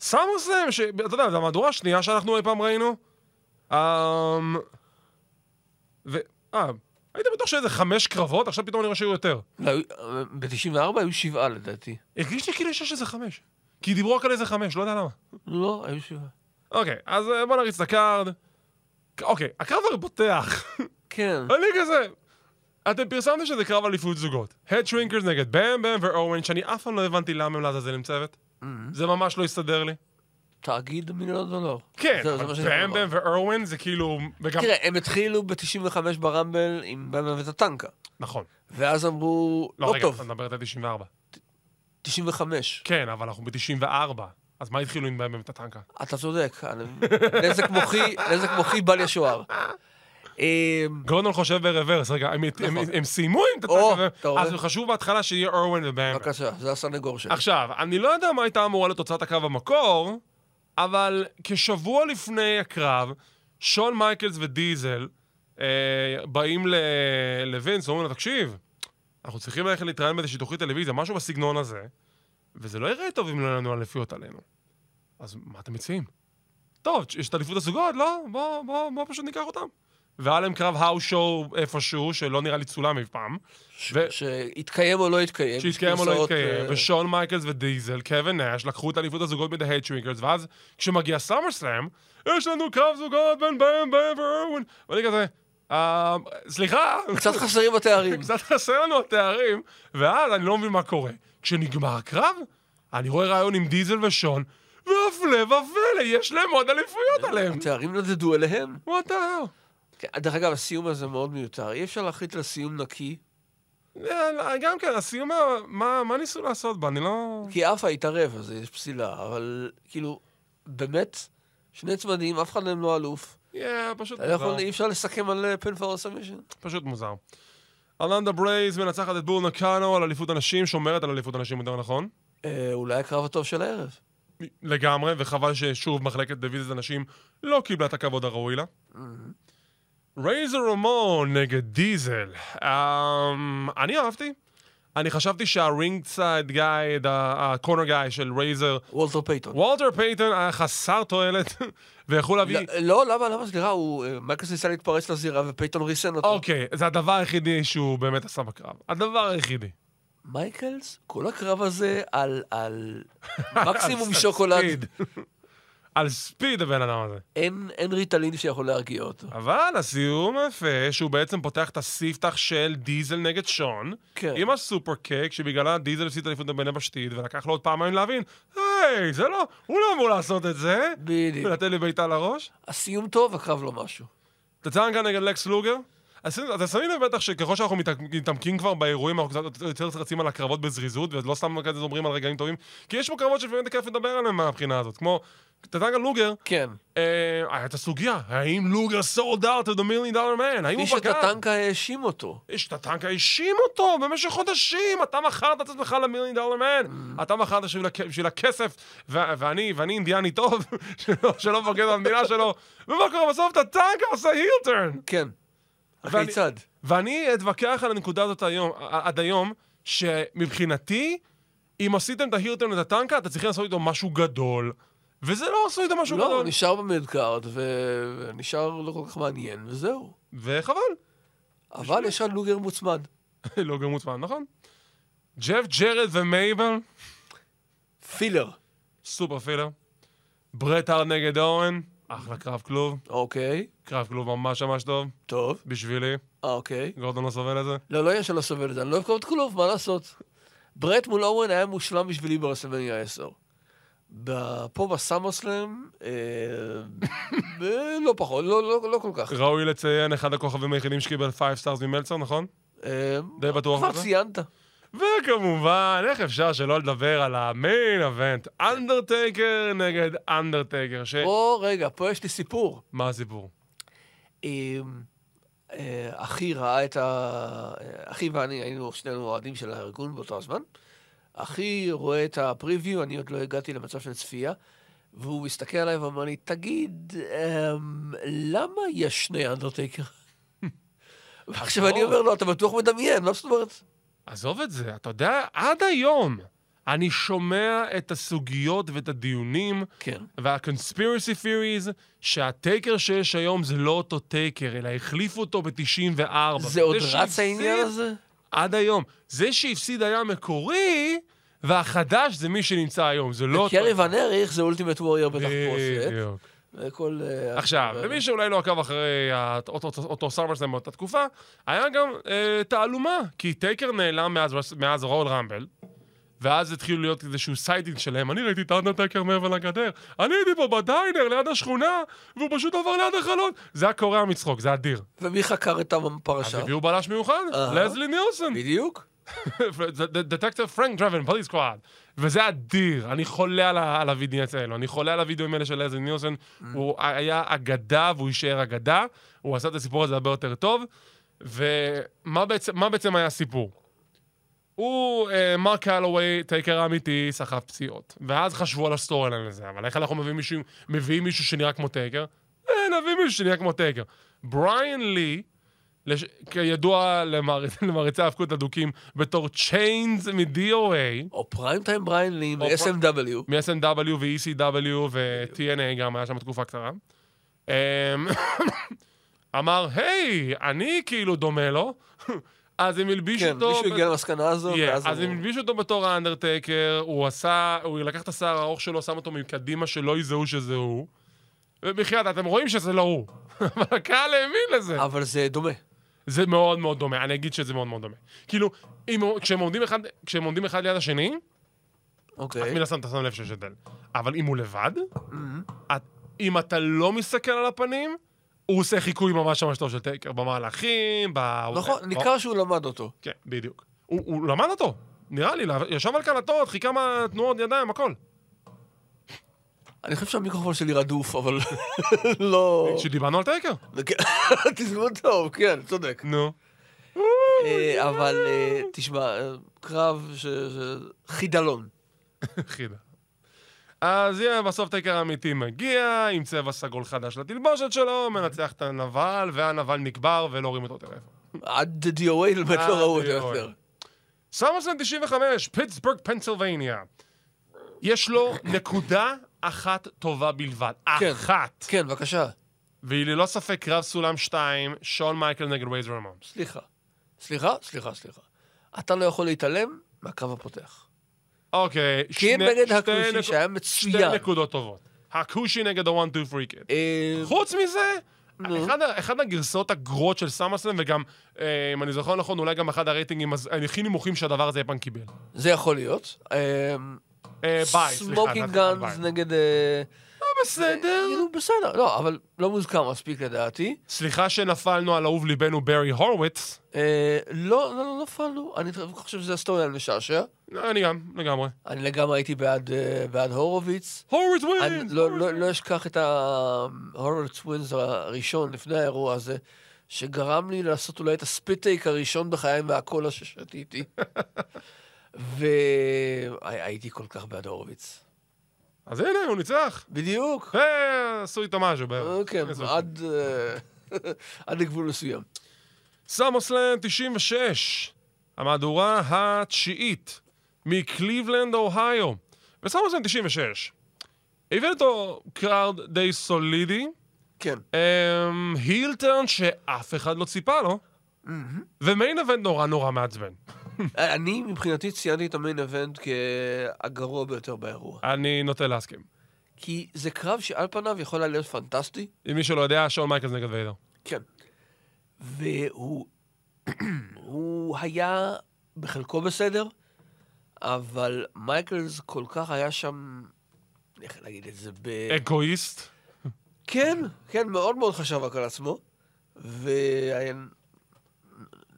סמרסלאם, שאתה יודע, זו המהדורה השנייה שאנחנו אי פעם ראינו. אמ... ו... אה, היית בטוח שאיזה חמש קרבות, עכשיו פתאום אני רואה שהיו יותר. ב-94 היו שבעה לדעתי. הרגיש לי כאילו שיש איזה חמש. כי דיברו רק על איזה חמש, לא יודע למה. לא, היו שבעה. אוקיי, אז אה, בוא נריץ את הקארד. אוקיי, הקרב הרי פותח. כן. אני כזה... אתם פרסמתם שזה קרב אליפות זוגות. הד שרינקרס נגד באם באם ואורן, שאני אף פעם לא הבנתי למה הם לעזאזל עם צוות. Mm-hmm. זה ממש לא הסתדר לי. תאגיד מיליון דולר. כן, זה- זה מה אבל שזה באם אמר. באם ואורן זה כאילו... וגם... תראה, הם התחילו ב-95 ברמבל עם במה וטנקה. נכון. ואז אמרו, לא, לא רגע, טוב, את מדברת על 94. 95. כן, אבל אנחנו ב-94. אז מה התחילו עם באם באם את הטנקה? אתה צודק, אני- נזק מוחי, נזק מוחי בל ישוער. אמ, גורדון חושב ברוורס, רגע, הם- הם- נכון. הם סיימו עם את או, הטנקה, אתה ו- רואה? אז חשוב בהתחלה שיהיה אורן ובאם. בבקשה, זה הסנגור שלי. עכשיו, אני לא יודע מה הייתה אמורה להיות תוצאת הקרב במקור, אבל כשבוע לפני הקרב, שון מייקלס ודיזל אה, באים ל... לווינס, אומרים לו, תקשיב, אנחנו צריכים ללכת להתראיין באיזושהי תוכנית טלוויזיה, משהו בסגנון הזה, וזה לא ייראה טוב אם לא יהיו לנו אליפויות עלינו. אז מה אתם מציעים? טוב, יש את אליפות הזוגות, לא? בוא, בוא, בוא פשוט ניקח אותם. והיה להם קרב האו שואו איפשהו, שלא נראה לי צולם אף פעם. ו- שהתקיים או לא התקיים. שהתקיים או לא גרסאות, התקיים, אה, ושון מייקלס ודיזל, קווין נאש, לקחו את אליפות הזוגות בידי הייט שרינקרס, ואז כשמגיע סאמר סלאם, יש לנו קרב זוגות בין בהם בהם ואירווין, ואני כזה, "אה, סליחה, קצת חסרים התארים. *laughs* קצת חסר לנו התארים, ואז אני לא מבין מה קורה. כשנגמר הקרב, אני רואה ראיון עם דיזל ושון, והפלא ופלא, יש להם עוד אליפויות עליהם. התארים נדדו אליהם. What the hell? כן, דרך אגב, הסיום הזה מאוד מיותר. אי אפשר להחליט על סיום נקי, אה, גם כן, הסיום, ה- מה מה ניסו לעשות בה? אני לא... כי עפה התערב, אז יש פסילה, אבל כאילו, באמת, שני צמדים, אף אחד מהם לא אלוף. אה, פשוט... אתה לא יכול, מוזר. אי אפשר לסכם על אה, פן פאור סמישן. פשוט מוזר. אלנדה ברייז מנצחת את בור נקאנו על אליפות הנשים, שומרת על אליפות הנשים יותר נכון. אה, אולי הקרב הטוב של הערב. לגמרי, וחבל ששוב מחלקת דיוויזיית הנשים לא קיבלה את הכבוד הראוי לה. רייזר רמון נגד דיזל. אמ, אני אהבתי. אני חשבתי שהרינג צייד גייד, הקורנר גיא של רייזר, וולטר פייתון. וולטר פייטון היה חסר תועלת, *laughs* ויכול להביא... לא, לא, למה, למה סליחה, הוא, אה, מייקלס ניסה להתפרץ לזירה ופייתון ריסן אותו. אוקיי, זה הדבר היחידי שהוא באמת עשה בקרב. הדבר היחידי. מייקלס, כל הקרב הזה על, *laughs* על מקסימום שוקולד, ספיד. על ספיד הבן אדם הזה. אין, אין ריטלין שיכול להרגיע אותו. אבל הסיום יפה, שהוא בעצם פותח את הספתח של דיזל נגד שון, כן. עם הסופר קייק, שבגללה דיזל הפסיד את האליפות בבני בשתית, ולקח לו עוד פעמיים להבין, היי, זה לא, הוא לא אמור לעשות את זה, בדיוק. ולתת לי בעיטה לראש. הסיום טוב, הקרב לא משהו. טצנקה נגד לקס לוגר. אז אתם שמים לב בטח שככל שאנחנו מתעמק- מתעמקים כבר באירועים, אנחנו קצת יותר רצים על הקרבות בזריזות, ולא סתם כזה אומרים על רגעים טובים, כי יש פה קרבות שבאמת כיף לדבר עליהם מהבחינה הזאת, כמו טצנקה לוגר, כן. אה, היה את הסוגיה, האם לוגר סולד אאוט of the million dollar man, האם מי הוא שאת פגע? הטנקה האשים אותו. יש את הטנק האשים אותו במשך חודשים, אתה מכרת את עצמך למיליון דולר מן, אתה מכרת בשביל הכ- בשביל הכסף, ו- ואני, ואני אינדיאני טוב, *laughs* שלא- שלא מבגד במדינה שלו, ומה קורה בסוף? את הטנק עושה הילטרן. כן. ואני- הכיצד? ואני אתווכח על הנקודה הזאת היום, עד היום, שמבחינתי, אם עשיתם את ההילטרן ואת הטנקה, אתה צריך לעשות איתו משהו גדול. וזה לא עשו איתו משהו לא, גדול. הוא נשאר במדקארד, ונשאר לא כל כך מעניין, וזהו. וחבל. אבל יש לך לוגר מוצמד. *laughs* לא גם מוצמד, נכון? ג'ף ג'רד ומייבל, פילר. סופר פילר. ברט הארד נגד אורן, אחלה קרב כלוב. אוקיי, קרב כלוב ממש ממש טוב, טוב. בשבילי. אה, אוקיי. גורדון לא סובל את זה. לא, לא יהיה שלא סובל את זה, אני לא אוהב קרבות כלוב, מה לעשות? ברט מול אורן היה מושלם בשבילי ברסלמניה 10. ב- פה בסאמרסלאם, אה, *laughs* אה, לא פחות, לא, לא, לא כל כך. ראוי לציין, אחד הכוכבים היחידים שקיבל 5 stars ממלצר, נכון? אה, די בטוח כבר בזה? אה. ציינת. וכמובן, איך אפשר שלא לדבר על המיין אבנט, אנדרטייקר נגד אנדרטייקר, ש... פה, רגע, פה יש לי סיפור. מה הסיפור? אה, אה, אחי ראה את ה... אה, אחי ואני היינו שנינו אוהדים של הארגון באותו הזמן. אחי רואה את הפריוויו, אני עוד לא הגעתי למצב של צפייה, והוא מסתכל עליי ואומר לי, תגיד, אמ, למה יש שני *laughs* אנדרטייקר? ועכשיו אני אומר לו, אתה בטוח מדמיין, מה זאת אומרת? עזוב את זה, אתה יודע, עד היום אני שומע את הסוגיות ואת הדיונים כן. וה-conspiracy theories, שהטייקר שיש היום זה לא אותו טייקר, אלא החליפו אותו ב-94. זה עוד וזה רץ שהפסיד העניין הזה? עד היום. זה שהפסיד היה מקורי, והחדש זה מי שנמצא היום, זה לא... קרי ון אריך זה אולטימט וורייר בתחפושת. בדיוק. וכל... *laughs* אה, עכשיו, אה, למי שאולי לא עקב אחרי ה- אותו- אותו- אותו סאמרסלאם באותה תקופה, היה גם אה, תעלומה, כי טייקר נעלם מאז- מאז רול רמבל, ואז התחילו להיות איזשהו סיידינג שלהם, אני ראיתי את אנדרטייקר מעבר לגדר, אני הייתי פה בדיינר ליד השכונה, והוא פשוט עבר ליד החלון. זה היה קורע מצחוק, זה אדיר. ומי חקר את אז הפרשה? הביאו בלש מיוחד, אהה. לזלי נילסון. בדיוק. *laughs* דטקטר פרנק דרבן, פוליס סקוואד. וזה אדיר, אני חולה על ה- על הווידנייטס האלו, אני חולה על הווידאוים האלה של לזלי נילסון. הוא היה אגדה והוא יישאר אגדה, הוא עשה את הסיפור הזה הרבה יותר טוב. ומה בעצם, מה בעצם היה הסיפור? הוא, אה, מרק הלווי, טייקר האמיתי, סחב פציעות. ואז חשבו על הסטורי ליין לזה, אבל איך אנחנו מביאים מישהו, מביאים מישהו שנראה כמו טייקר? אה, נביא מישהו שנראה כמו טייקר. בריאן לי, לש... כידוע למער... *laughs* למעריצי ההאבקות הדוקים בתור צ'יינס מ-DOA, או פריים טיים בריין לי או פר- מ-SMW. מ-SNW ו-ECW ו-TNA גם, היה שם תקופה קצרה. אמ, *coughs* אמר, היי, אני כאילו דומה לו, *laughs* אז הם הלבישו כן, אותו... מישהו ב- הגיע למסקנה הזו, אה, Yeah, ואז... אז הם אמרו, הלבישו אותו בתור האנדרטקר, הוא עשה, הוא לקח את השיער הארוך שלו, שם אותו מקדימה שלא יזהו שזה הוא. ובחייאת, אתם רואים שזה לא הוא. *laughs* אבל הקהל האמין לזה. אבל זה דומה. זה מאוד מאוד דומה, אני אגיד שזה מאוד מאוד דומה. כאילו, אם, כשהם, עומדים אחד, כשהם עומדים אחד ליד השני, אוקיי. Mm-hmm. מן הסתם אתה שם לב שיש הבדל. אבל אם הוא לבד, את, אם אתה לא מסתכל על הפנים, הוא עושה חיקוי ממש ממש טוב של טייקר, במהלכים, ב... נכון, ב- ניכר שהוא למד אותו. כן, בדיוק. הוא, הוא למד אותו, נראה לי, ישב על קלטות, חיכה מהתנועות ידיים, הכל. אני חושב שהמיקרופון שלי רדוף, אבל *laughs* לא... כשדיברנו על טייקר. *laughs* תזמון טוב, כן, צודק. נו. אה, אבל אה, תשמע, אה, קרב ש... ש- חידלון. חידה. אז הנה, בסוף טייקר האמיתי מגיע, עם צבע סגול חדש לתלבושת שלו, מנצח את הנבל, והנבל נקבר ולא רואים אותו טלפון. עד DOA באמת עד לא ראו אותו DOA. יותר. סמרסון 95, פיטסבורג, פנסילבניה. יש לו נקודה אחת טובה בלבד. כן. אחת. כן, בבקשה. והיא ללא ספק קרב סולם 2, שון מייקל נגד וייז רמונס. סליחה. סליחה, סליחה, סליחה. אתה לא יכול להתעלם מהקרב הפותח. אוקיי, כי אם נגד שתי הכושי נק- שהיה שתי מצוין. נקודות טובות. הכושי נגד ה-1, 2, 3 קד. אה, חוץ מזה, נו. אחד, ה- אחד הגרסאות הגרועות של סמאסלם, וגם, אה, אם אני זוכר נכון, אולי גם אחד הרייטינגים הז- הכי נמוכים שהדבר הזה אי פעם קיבל. זה יכול להיות. אה, אה, ביי, סליחה. סמוקינג גאנז נגד... אה, בסדר. כאילו, בסדר, לא, אבל לא מוזכר מספיק לדעתי. סליחה שנפלנו על אהוב ליבנו ברי הורוביץ. אה, לא, לא, לא נפלנו. אני חושב שזה הסטוריאן משעשע. לא, אני גם, לגמרי. אני לגמרי הייתי בעד, אה, בעד הורוביץ. הורוביץ אני ווינס! לא, לא, לא אשכח את ההורוביץ ווינס הראשון לפני האירוע הזה, שגרם לי לעשות אולי את הספיטייק הראשון בחיי מהקולה ששתיתי. והייתי כל כך בעד הורוביץ. אז הנה, הוא ניצח. בדיוק. אה, עשו איתו משהו אה, בערך. כן, איזה- עד, אה, *laughs* עד לגבול מסוים. סמוסלם 96, המהדורה התשיעית מקליבלנד, אוהיו. וסמוסלם 96, הבאת אותו קרארד די סולידי, כן. אמ, היל טרן שאף אחד לא ציפה לו, ומיין אבנט נורא נורא מעצבן. אני מבחינתי ציינתי את המיין אבנט כהגרוע ביותר באירוע. אני נוטה להסכים. כי זה קרב שעל פניו יכול היה להיות פנטסטי, אם מי שלא יודע, שון מייקלס נגד ויידר. כן. והוא *clears throat* הוא היה בחלקו בסדר, אבל מייקלס כל כך היה שם, איך להגיד את זה, ב... אגואיסט. כן, כן, מאוד מאוד חשב רק על עצמו, והיה...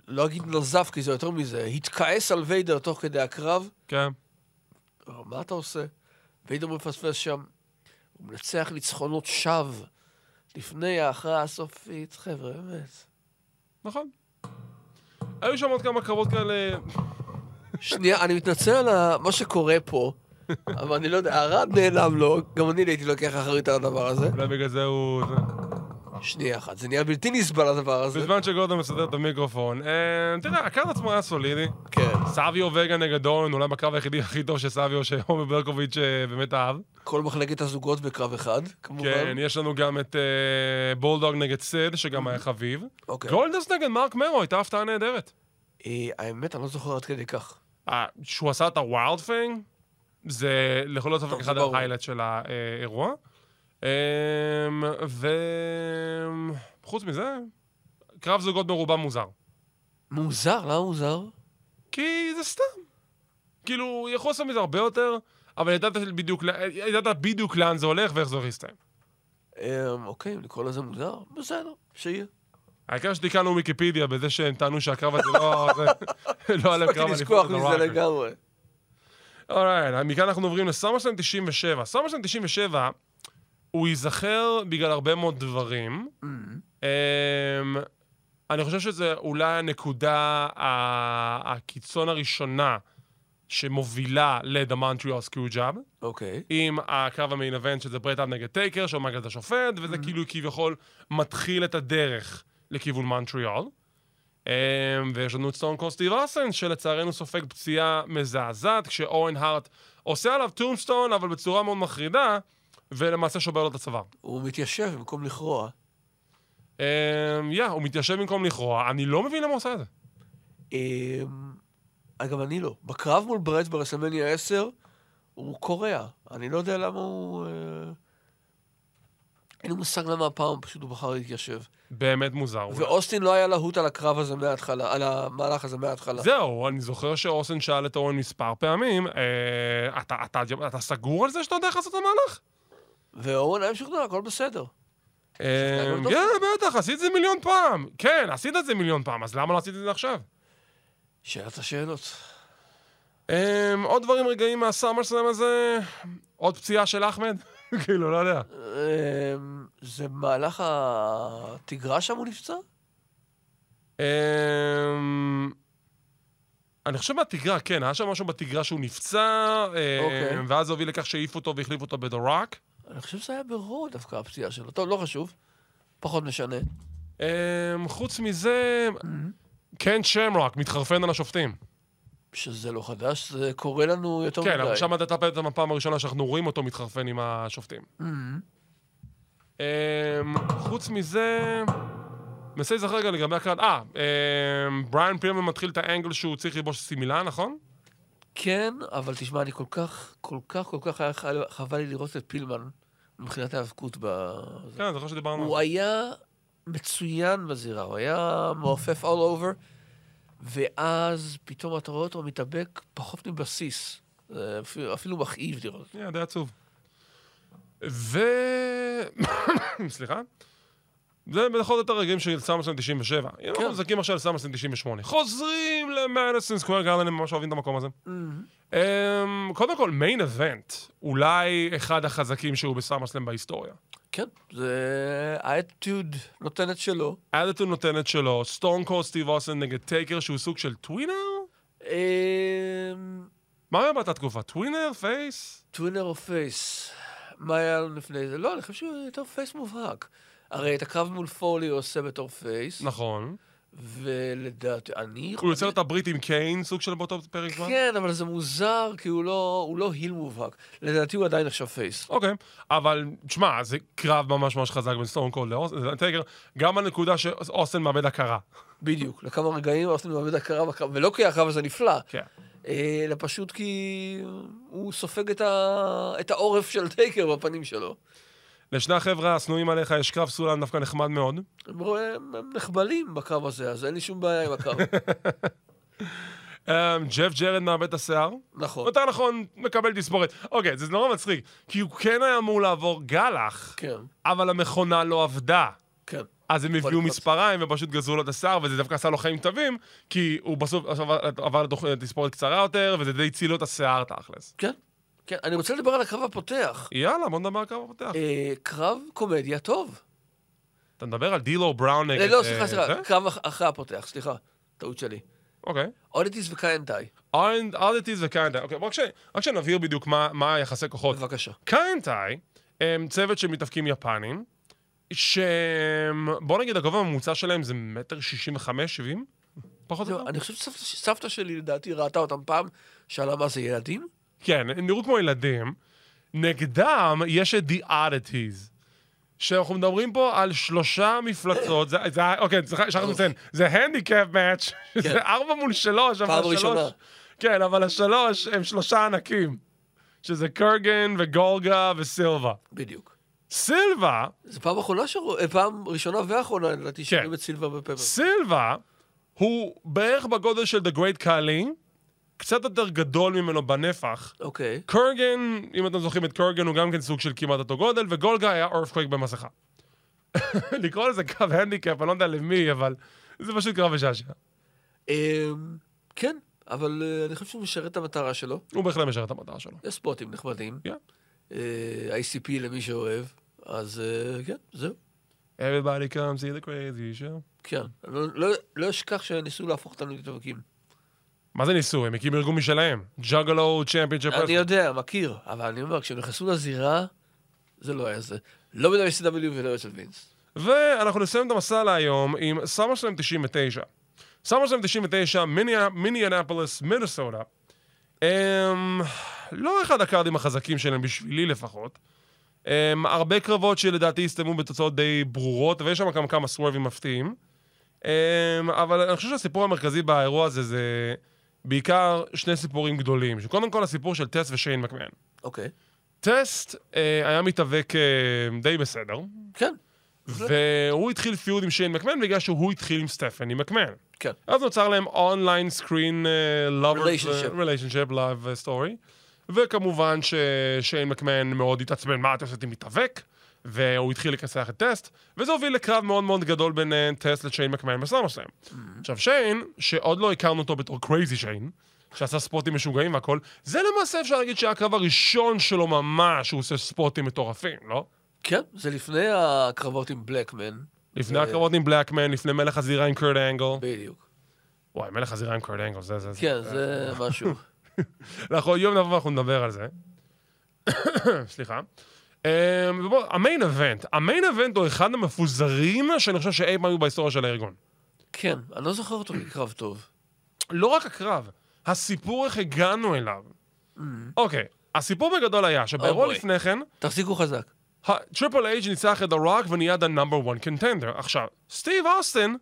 לא אגיד נזף, כי זה יותר מזה, התכעס על ויידר תוך כדי הקרב, כן. אמר, מה אתה עושה? ויידר מפספס שם, הוא מנצח ניצחונות שווא לפני ההכרעה הסופית, חבר'ה, באמת. נכון. היו שם עוד כמה קרבות כאלה, שנייה, אני מתנצל על ה- מה שקורה פה, אבל אני לא יודע, ערד נעלם לו, גם אני לא הייתי לוקח אחרית על הדבר הזה. אולי בגלל זה הוא... זה. שנייה אחת, זה נהיה בלתי נסבל הדבר הזה. בזמן שגורדון מסדר את המיקרופון. אה, תראה, הקרב עצמו היה סולידי. כן, סביו וגה נגד אורן, אולי בקרב היחידי הכי טוב שסביו, שעומר ברקוביץ' אה, באמת אהב. כל מחלקת הזוגות בקרב אחד, כמובן. כן, יש לנו גם את אה, בולדוג נגד סד, שגם היה חביב. אוקיי. גולדס נגד מרק מרו, הייתה הפתעה נהדרת. אה, האמת, אני לא זוכר עד כדי כך. אה, שהוא עשה את הווילד פאנג, זה לכל דבר טוב, זה אחד ברור. ההיילט של האירוע. אה, וחוץ מזה, קרב זוגות ברובם מוזר. מוזר, למה מוזר? כי זה סתם. כאילו, יכול לעשות מזה הרבה יותר, אבל ידעת בדיוק, ל- ידעת בדיוק לאן זה הולך ואיך זה הולך להסתיים. אמ, אוקיי, אם לקרוא לזה מוזר, בסדר, שיהיה. העיקר שתיקנו ויקיפדיה בזה שהם טענו שהקרב הזה *laughs* לא... זה- לא עליהם קרב הספקתי לשכוח מזה לגמרי. אולי, מכאן אנחנו עוברים לסמרסלאם 97. סמרסלאם 97, הוא ייזכר בגלל הרבה מאוד דברים. Mm. אמ, אני חושב שזה אולי הנקודה ה- הקיצון הראשונה שמובילה ל-The Montreal Screwjob. אוקיי. עם הקרב המיין אבנט, שזה ברטאב נגד טייקר, שעומד את השופט, וזה כאילו כביכול מתחיל את הדרך לכיוון מונטריאל. אמ, ויש לנו את סטון קול סטיב ארסן, שלצערנו סופג פציעה מזעזעת, כשאורן הארט עושה עליו טומסטון, אבל בצורה מאוד מחרידה, ולמעשה שובר לו את הצוואר. הוא מתיישב במקום לכרוע. אמ, יא, הוא מתיישב במקום לכרוע, אני לא מבין למה הוא עושה את זה. אמ, אגב, אני לא. בקרב מול ברט ברסמניה 10, הוא קורע. אני לא יודע למה הוא... אה, אין לי מושג למה הפעם פשוט הוא בחר להתיישב. באמת מוזר. אולי. ואוסטין לא היה להוט על הקרב הזה מההתחלה, על המהלך הזה מההתחלה. זהו, אני זוכר שאוסן שאל את אורן מספר פעמים, אה, אתה, אתה, אתה סגור על זה שאתה יודע איך לעשות את המהלך? ואורן היה משוכנע, הכל בסדר. אה, אותו? כן, בטח, עשית את זה מיליון פעם. כן, עשית את זה מיליון פעם, אז למה לא עשית את זה עכשיו? שאלת השאלות. אה, עוד דברים רגעים מהסאמר סלאם הזה, עוד פציעה של אחמד? *laughs* כאילו, לא יודע. אמ, זה במהלך התגרה שם הוא נפצע? אה, אני חושב בתגרה, כן, היה שם משהו בתגרה שהוא נפצע, אה, אוקיי. ואז זה הוביל לכך שהעיפו אותו והחליפו אותו בדורק. אני חושב שזה היה ברו דווקא הפציעה שלו. טוב, לא חשוב. פחות משנה. אמ, חוץ מזה, קן שמרוק מתחרפן על השופטים. שזה לא חדש, זה קורה לנו יותר כן, מדי. אבל שם הייתה פעם הפעם הראשונה שאנחנו רואים אותו מתחרפן עם השופטים. Mm-hmm. אמ, חוץ מזה, מנסה להיזכר רגע לגבי הקרן. אה, אמ, בריאן פילמן מתחיל את האנגל שהוא צריך ללבוש סמילה, נכון? כן, אבל תשמע, אני כל כך, כל כך, כל כך היה חל- חבל לי לראות את פילמן מבחינת ההיאבקות ב... כן, אני זוכר שדיברנו. הוא על היה מצוין בזירה, הוא היה מעופף all over, ואז פתאום אתה רואה אותו מתאבק פחות מבסיס. זה אפילו- אפילו מכאיב לראות. זה. כן, די עצוב. ו... *coughs* סליחה? זה בכל זאת הרגעים של סמרסן 97. אם אנחנו מזכים עכשיו לסמרסן 98. חוזרים למדיסון סקוויר גרדן, הם ממש אוהבים את המקום הזה. Um, קודם כל, מיין אבנט, אולי אחד החזקים שהיו בסאמרסלאם בהיסטוריה. כן, זה... האטיוד נותן את שלו. אדלטון נותן את שלו, סטון קור סטיב אוסן נגד טייקר, שהוא סוג של טווינר? אמ, מה היה באותה תקופה? טווינר? פייס? טווינר או פייס? מה היה לנו לפני זה? לא, אני חושב שהוא יותר פייס מובהק. הרי את הקרב מול פולי הוא עושה בתור פייס, נכון. ולדעתי, אני... הוא יוצר את הברית עם קיין, סוג של באותו פרק זמן? כן, אבל זה מוזר, כי הוא לא, הוא לא היל מובהק. לדעתי הוא עדיין נחשב פייס. אוקיי, אבל תשמע, זה קרב ממש ממש חזק בין סטון קול לטייקר, גם הנקודה שאוסן מאבד הכרה. בדיוק. לכמה רגעים עושים מאבד הכרה בקרב, ולא כי הקרב הזה נפלא, כן. אה, אלא פשוט כי הוא סופג את, ה... את העורף של טייקר בפנים שלו. לשני החבר'ה השנואים עליך יש קרב סולם דווקא נחמד מאוד. הם, רוא- הם, הם נחבלים בקרב הזה, אז אין לי שום בעיה עם הקרב. *laughs* אמ, ג'ף ג'רד מאבד את השיער. נכון. יותר נכון, מקבל תספורת. אוקיי, זה נורא מצחיק, כי הוא כן היה אמור לעבור גלח, כן, אבל המכונה לא עבדה. כן. אז הם הביאו לקרות. מספריים ופשוט גזרו לו את השיער, וזה דווקא עשה לו חיים טובים, כי הוא בסוף עכשיו עבר לתוך- לתספורת קצרה יותר, וזה די הציל לו את השיער תכלס. כן, כן. אני רוצה לדבר על הקרב *laughs* הפותח. יאללה, בוא נדבר על קרב הפותח. אה, קרב קומדיה טוב. אתה מדבר על דילו בראון נגד... אה, לא, אה, סליחה, זה? סליחה, קרב אח- אחרי הפותח, סליחה. טעות שלי. אוקיי. אודיטיס וקאנטאי, ארדטיז וקנדה. אוקיי, רק ש- רק שנבהיר בדיוק מה- מה היחסי כוחות. בבקשה. קאנטאי הם צוות של מתאבקים יפנים, שבוא נגיד הגובה הממוצע שלהם זה מטר שישים וחמש, שבעים? פחות או זהו, יותר? לא, אני חושב שסבתא- שסבתא שלי לדעתי ראתה אותם פעם, שאלה מה זה ילדים? כן, הם נראו כמו ילדים. נגדם יש את The Oddities. שאנחנו מדברים פה על שלושה מפלצות, זה, זה, אוקיי, שכחנו לציין, זה הנדיקאפ מאץ', זה ארבע מול שלוש, אבל כן. פעם ראשונה. שלוש. כן, אבל השלוש הם שלושה ענקים, שזה קרגן וגולגה וסילבה. בדיוק. סילבה, זו פעם אחרונה שרוא- אה, פעם ראשונה ואחרונה, כן. לדעתי, שרואים את סילבר בפפר. סילבה הוא בערך בגודל של The Great Kali, קצת יותר גדול ממנו בנפח. אוקיי. קרגן, אם אתם זוכרים את קרגן, הוא גם כן סוג של כמעט אותו גודל, וגולגה היה אורפקווייק במסכה. *laughs* לקרוא לזה קו הנדיקאפ, אני לא יודע למי, אבל זה פשוט קרב משעשע. אמ, כן, אבל אה, אני חושב שהוא משרת את המטרה שלו. הוא בהחלט משרת את המטרה שלו. יש ספוטים נחמדים. כן. אה, ICP למי שאוהב, אז אה, כן, זהו. Everybody come see the crazy show. כן. לא- לא- לא אשכח שניסו להפוך אותנו לדבקים. כן, מה זה ניסו? הם הקימו ארגון משלהם. ג'אגלו צ'מפיונג'פ. אני יודע, מכיר, אבל אני אומר, כשהם נכנסו לזירה, זה לא היה זה. לא בין ה-SW ולא אצל וינס. ואנחנו נסיים את המסע להיום עם סאמר שלהם 99. סאמר שלהם 99, מיני- מיניאנפוליס, מינסודה. הם לא אחד הקארדים החזקים שלהם, בשבילי לפחות. הם הרבה קרבות שלדעתי הסתיימו בתוצאות די ברורות, ויש שם גם כמה סוורבים מפתיעים. הם, אבל אני חושב שהסיפור המרכזי באירוע הזה זה בעיקר שני סיפורים גדולים. שקודם כל הסיפור של טס ושיין מקמן. אוקיי. טסט אה, היה מתאבק אה, די בסדר, כן, והוא התחיל פיוד עם שיין מקמן בגלל שהוא התחיל עם סטפני מקמן. כן. אז נוצר להם אה, אונליין סקרין Relationship. ריליישנשפ לאב סטורי. וכמובן ששיין מקמן מאוד התעצבן, מה אתה עושה, אתה מתאבק? והוא התחיל לכסח את טסט, וזה הוביל לקרב מאוד מאוד גדול בין אה, טסט לשיין מקמן בסמרסלאם. עכשיו שיין, שעוד לא הכרנו אותו בתור קרייזי שיין, שעשה ספוטים משוגעים והכל, זה למעשה אפשר להגיד שהיה הקרב הראשון שלו ממש, שהוא עושה ספוטים מטורפים, לא? כן, זה לפני הקרבות עם בלקמן. לפני הקרבות עם בלקמן, לפני מלך הזירה עם קרד אנגל. בדיוק. וואי, מלך הזירה עם קרד אנגל, זה זה זה. כן, זה *laughs* משהו. אנחנו יום נבוא ואנחנו נדבר על זה. *coughs* סליחה. Um, ובוא, המיין אבנט, המיין אבנט הוא אחד המפוזרים שאני חושב שאי פעם היו בהיסטוריה של הארגון. כן, אני לא זוכר אותו כקרב טוב. לא רק הקרב, הסיפור איך הגענו אליו. אוקיי, הסיפור בגדול היה שבאירוע אוי. לפני כן, תחזיקו חזק. טריפל אייג' ניצח את הרוק ונהיה the number one contender. עכשיו, סטיב אוסטין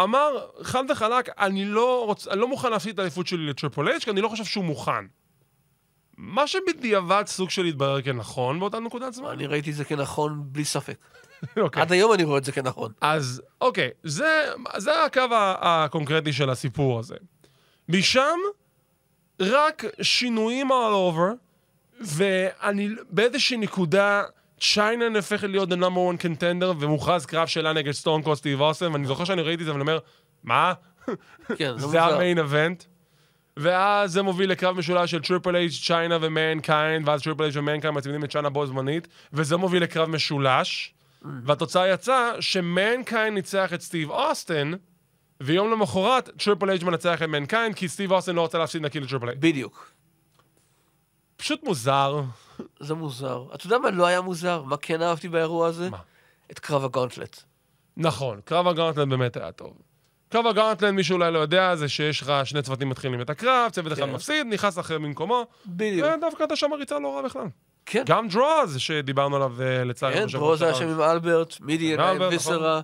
אמר חד וחלק, אני לא, רוצ... אני לא מוכן להפסיד את האליפות שלי לטריפל אייג' כי אני לא חושב שהוא מוכן. מה שבדיעבד סוג של התברר כנכון באותה נקודת זמן. *laughs* אני ראיתי את זה כנכון בלי ספק. אוקיי. עד היום אני רואה את זה כנכון. אז אוקיי, זה, זה הקו ה- הקונקרטי של הסיפור הזה. משם, רק שינויים all over, ואני באיזושהי נקודה, צ'יינה נהפכת להיות the number one contender, ומוכרז קרב שלה נגד סטון קול סטיב אוסם, ואני זוכר שאני ראיתי את זה ואני אומר, מה? כן, זה זה מוזר. המיין אבנט? ואז זה מוביל לקרב משולש של טריפל אייג' צ'יינה ומנקיינד, ואז טריפל אייג' ומנקיינד מצמידים את צ'יינה בו זמנית, וזה מוביל לקרב משולש, אה. והתוצאה יצאה שמנקיינד ניצח את סטיב אוסטן, ויום למחרת טריפל אייג' מנצח את מנקיינד, כי סטיב אוסטן לא רצה להפסיד נקי לטריפל אייג'. בדיוק. פשוט מוזר. זה מוזר. אתה יודע מה לא היה מוזר? מה כן אהבתי באירוע הזה? מה? את קרב הגאונטלט. נכון, קרב הגאונטלנד באמת היה טוב. קרב הגאונטלנד, מי שאולי לא יודע, זה שיש לך שני צוותים מתחילים את הקרב, צוות אחד כן. מפסיד, נכנס אחר במקוומו, בדיוק. ודווקא הייתה שם ריצה לא רע בכלל. כן. גם דרוז, שדיברנו עליו אה, לצערי. כן, בשבוע דרוז היה שעבר. שם עם אלברט, מידי עם היה עם אלברט, נכון. ויסרה.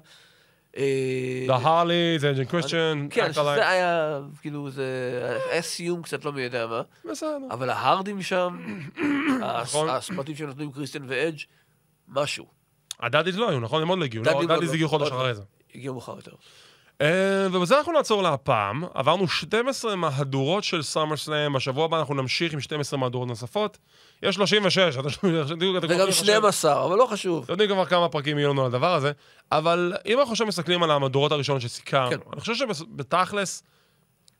אה, The Harley, The Agent Christian, כן, Act שזה Alive. היה, כאילו, זה היה סיום קצת לא מי יודע מה, בסדר. אבל ההרדים שם, *coughs* הס- נכון. הספוטים שנותנים קריסטיאן ואדג', משהו. הדאדיז לא היו, נכון? הם עוד לא הגיעו. לא, דאדיז לא, הדאדיז לא. הגיעו חודש עוד לא. אחרי זה. הגיעו מאוחר יותר. אה, ובזה אנחנו נעצור להפעם. עברנו 12 מהדורות של סאמר סלאם, בשבוע הבא אנחנו נמשיך עם 12 מהדורות נוספות. יש 36, אתם יודעים אתם וגם יכולים לחשב- 12, אבל לא חשוב. אתם יודעים כבר כמה פרקים יהיו לנו על הדבר הזה, אבל אם אנחנו עכשיו מסתכלים על המהדורות הראשונות שסיקרנו, כן. אני חושב שבתכלס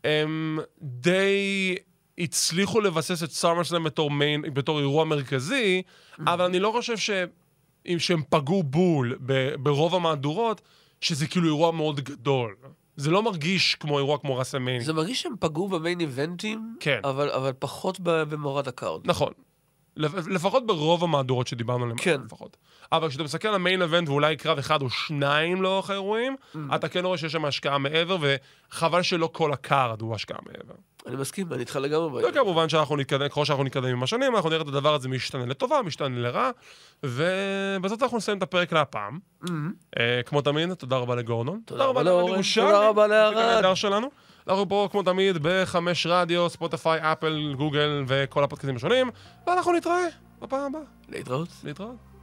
הם די הצליחו לבסס את סאמרסלאם בתור, מיין- בתור אירוע מרכזי, Mm-hmm. אבל אני לא חושב ש... אם שהם פגעו בול ב, ברוב המהדורות, שזה כאילו אירוע מאוד גדול. זה לא מרגיש כמו אירוע כמו רסלמניה. זה מרגיש שהם פגעו במיין איבנטים, כן. אבל אבל פחות ב- במורד הקארד. נכון. לפ- לפחות ברוב המהדורות שדיברנו עליהן, כן. לפחות. אבל כשאתה מסתכל על המיין אבנט ואולי קרב אחד או שניים לאורך האירועים, אתה כן רואה שיש שם השקעה מעבר, וחבל שלא כל הקארד הוא השקעה מעבר. אני מסכים, אני איתך לגמרי בעניין. וכמובן שאנחנו נתקדם, ככל שאנחנו נתקדם עם השנים, אנחנו נראה את הדבר הזה משתנה לטובה, משתנה לרע, ובזאת אנחנו נסיים את הפרק להפעם. מהמם. אה, כמו תמיד, תודה רבה לגורדון. Mm-hmm. תודה רבה לאורן, לירושלמי, תודה רבה לפרק לארד. הנהדר שלנו. אנחנו פה, כמו תמיד, בחמש רדיו, ספוטיפיי, אפל, גוגל וכל הפודקאסטים השונים, ואנחנו נתראה בפעם הבאה. להתראות. להתראות.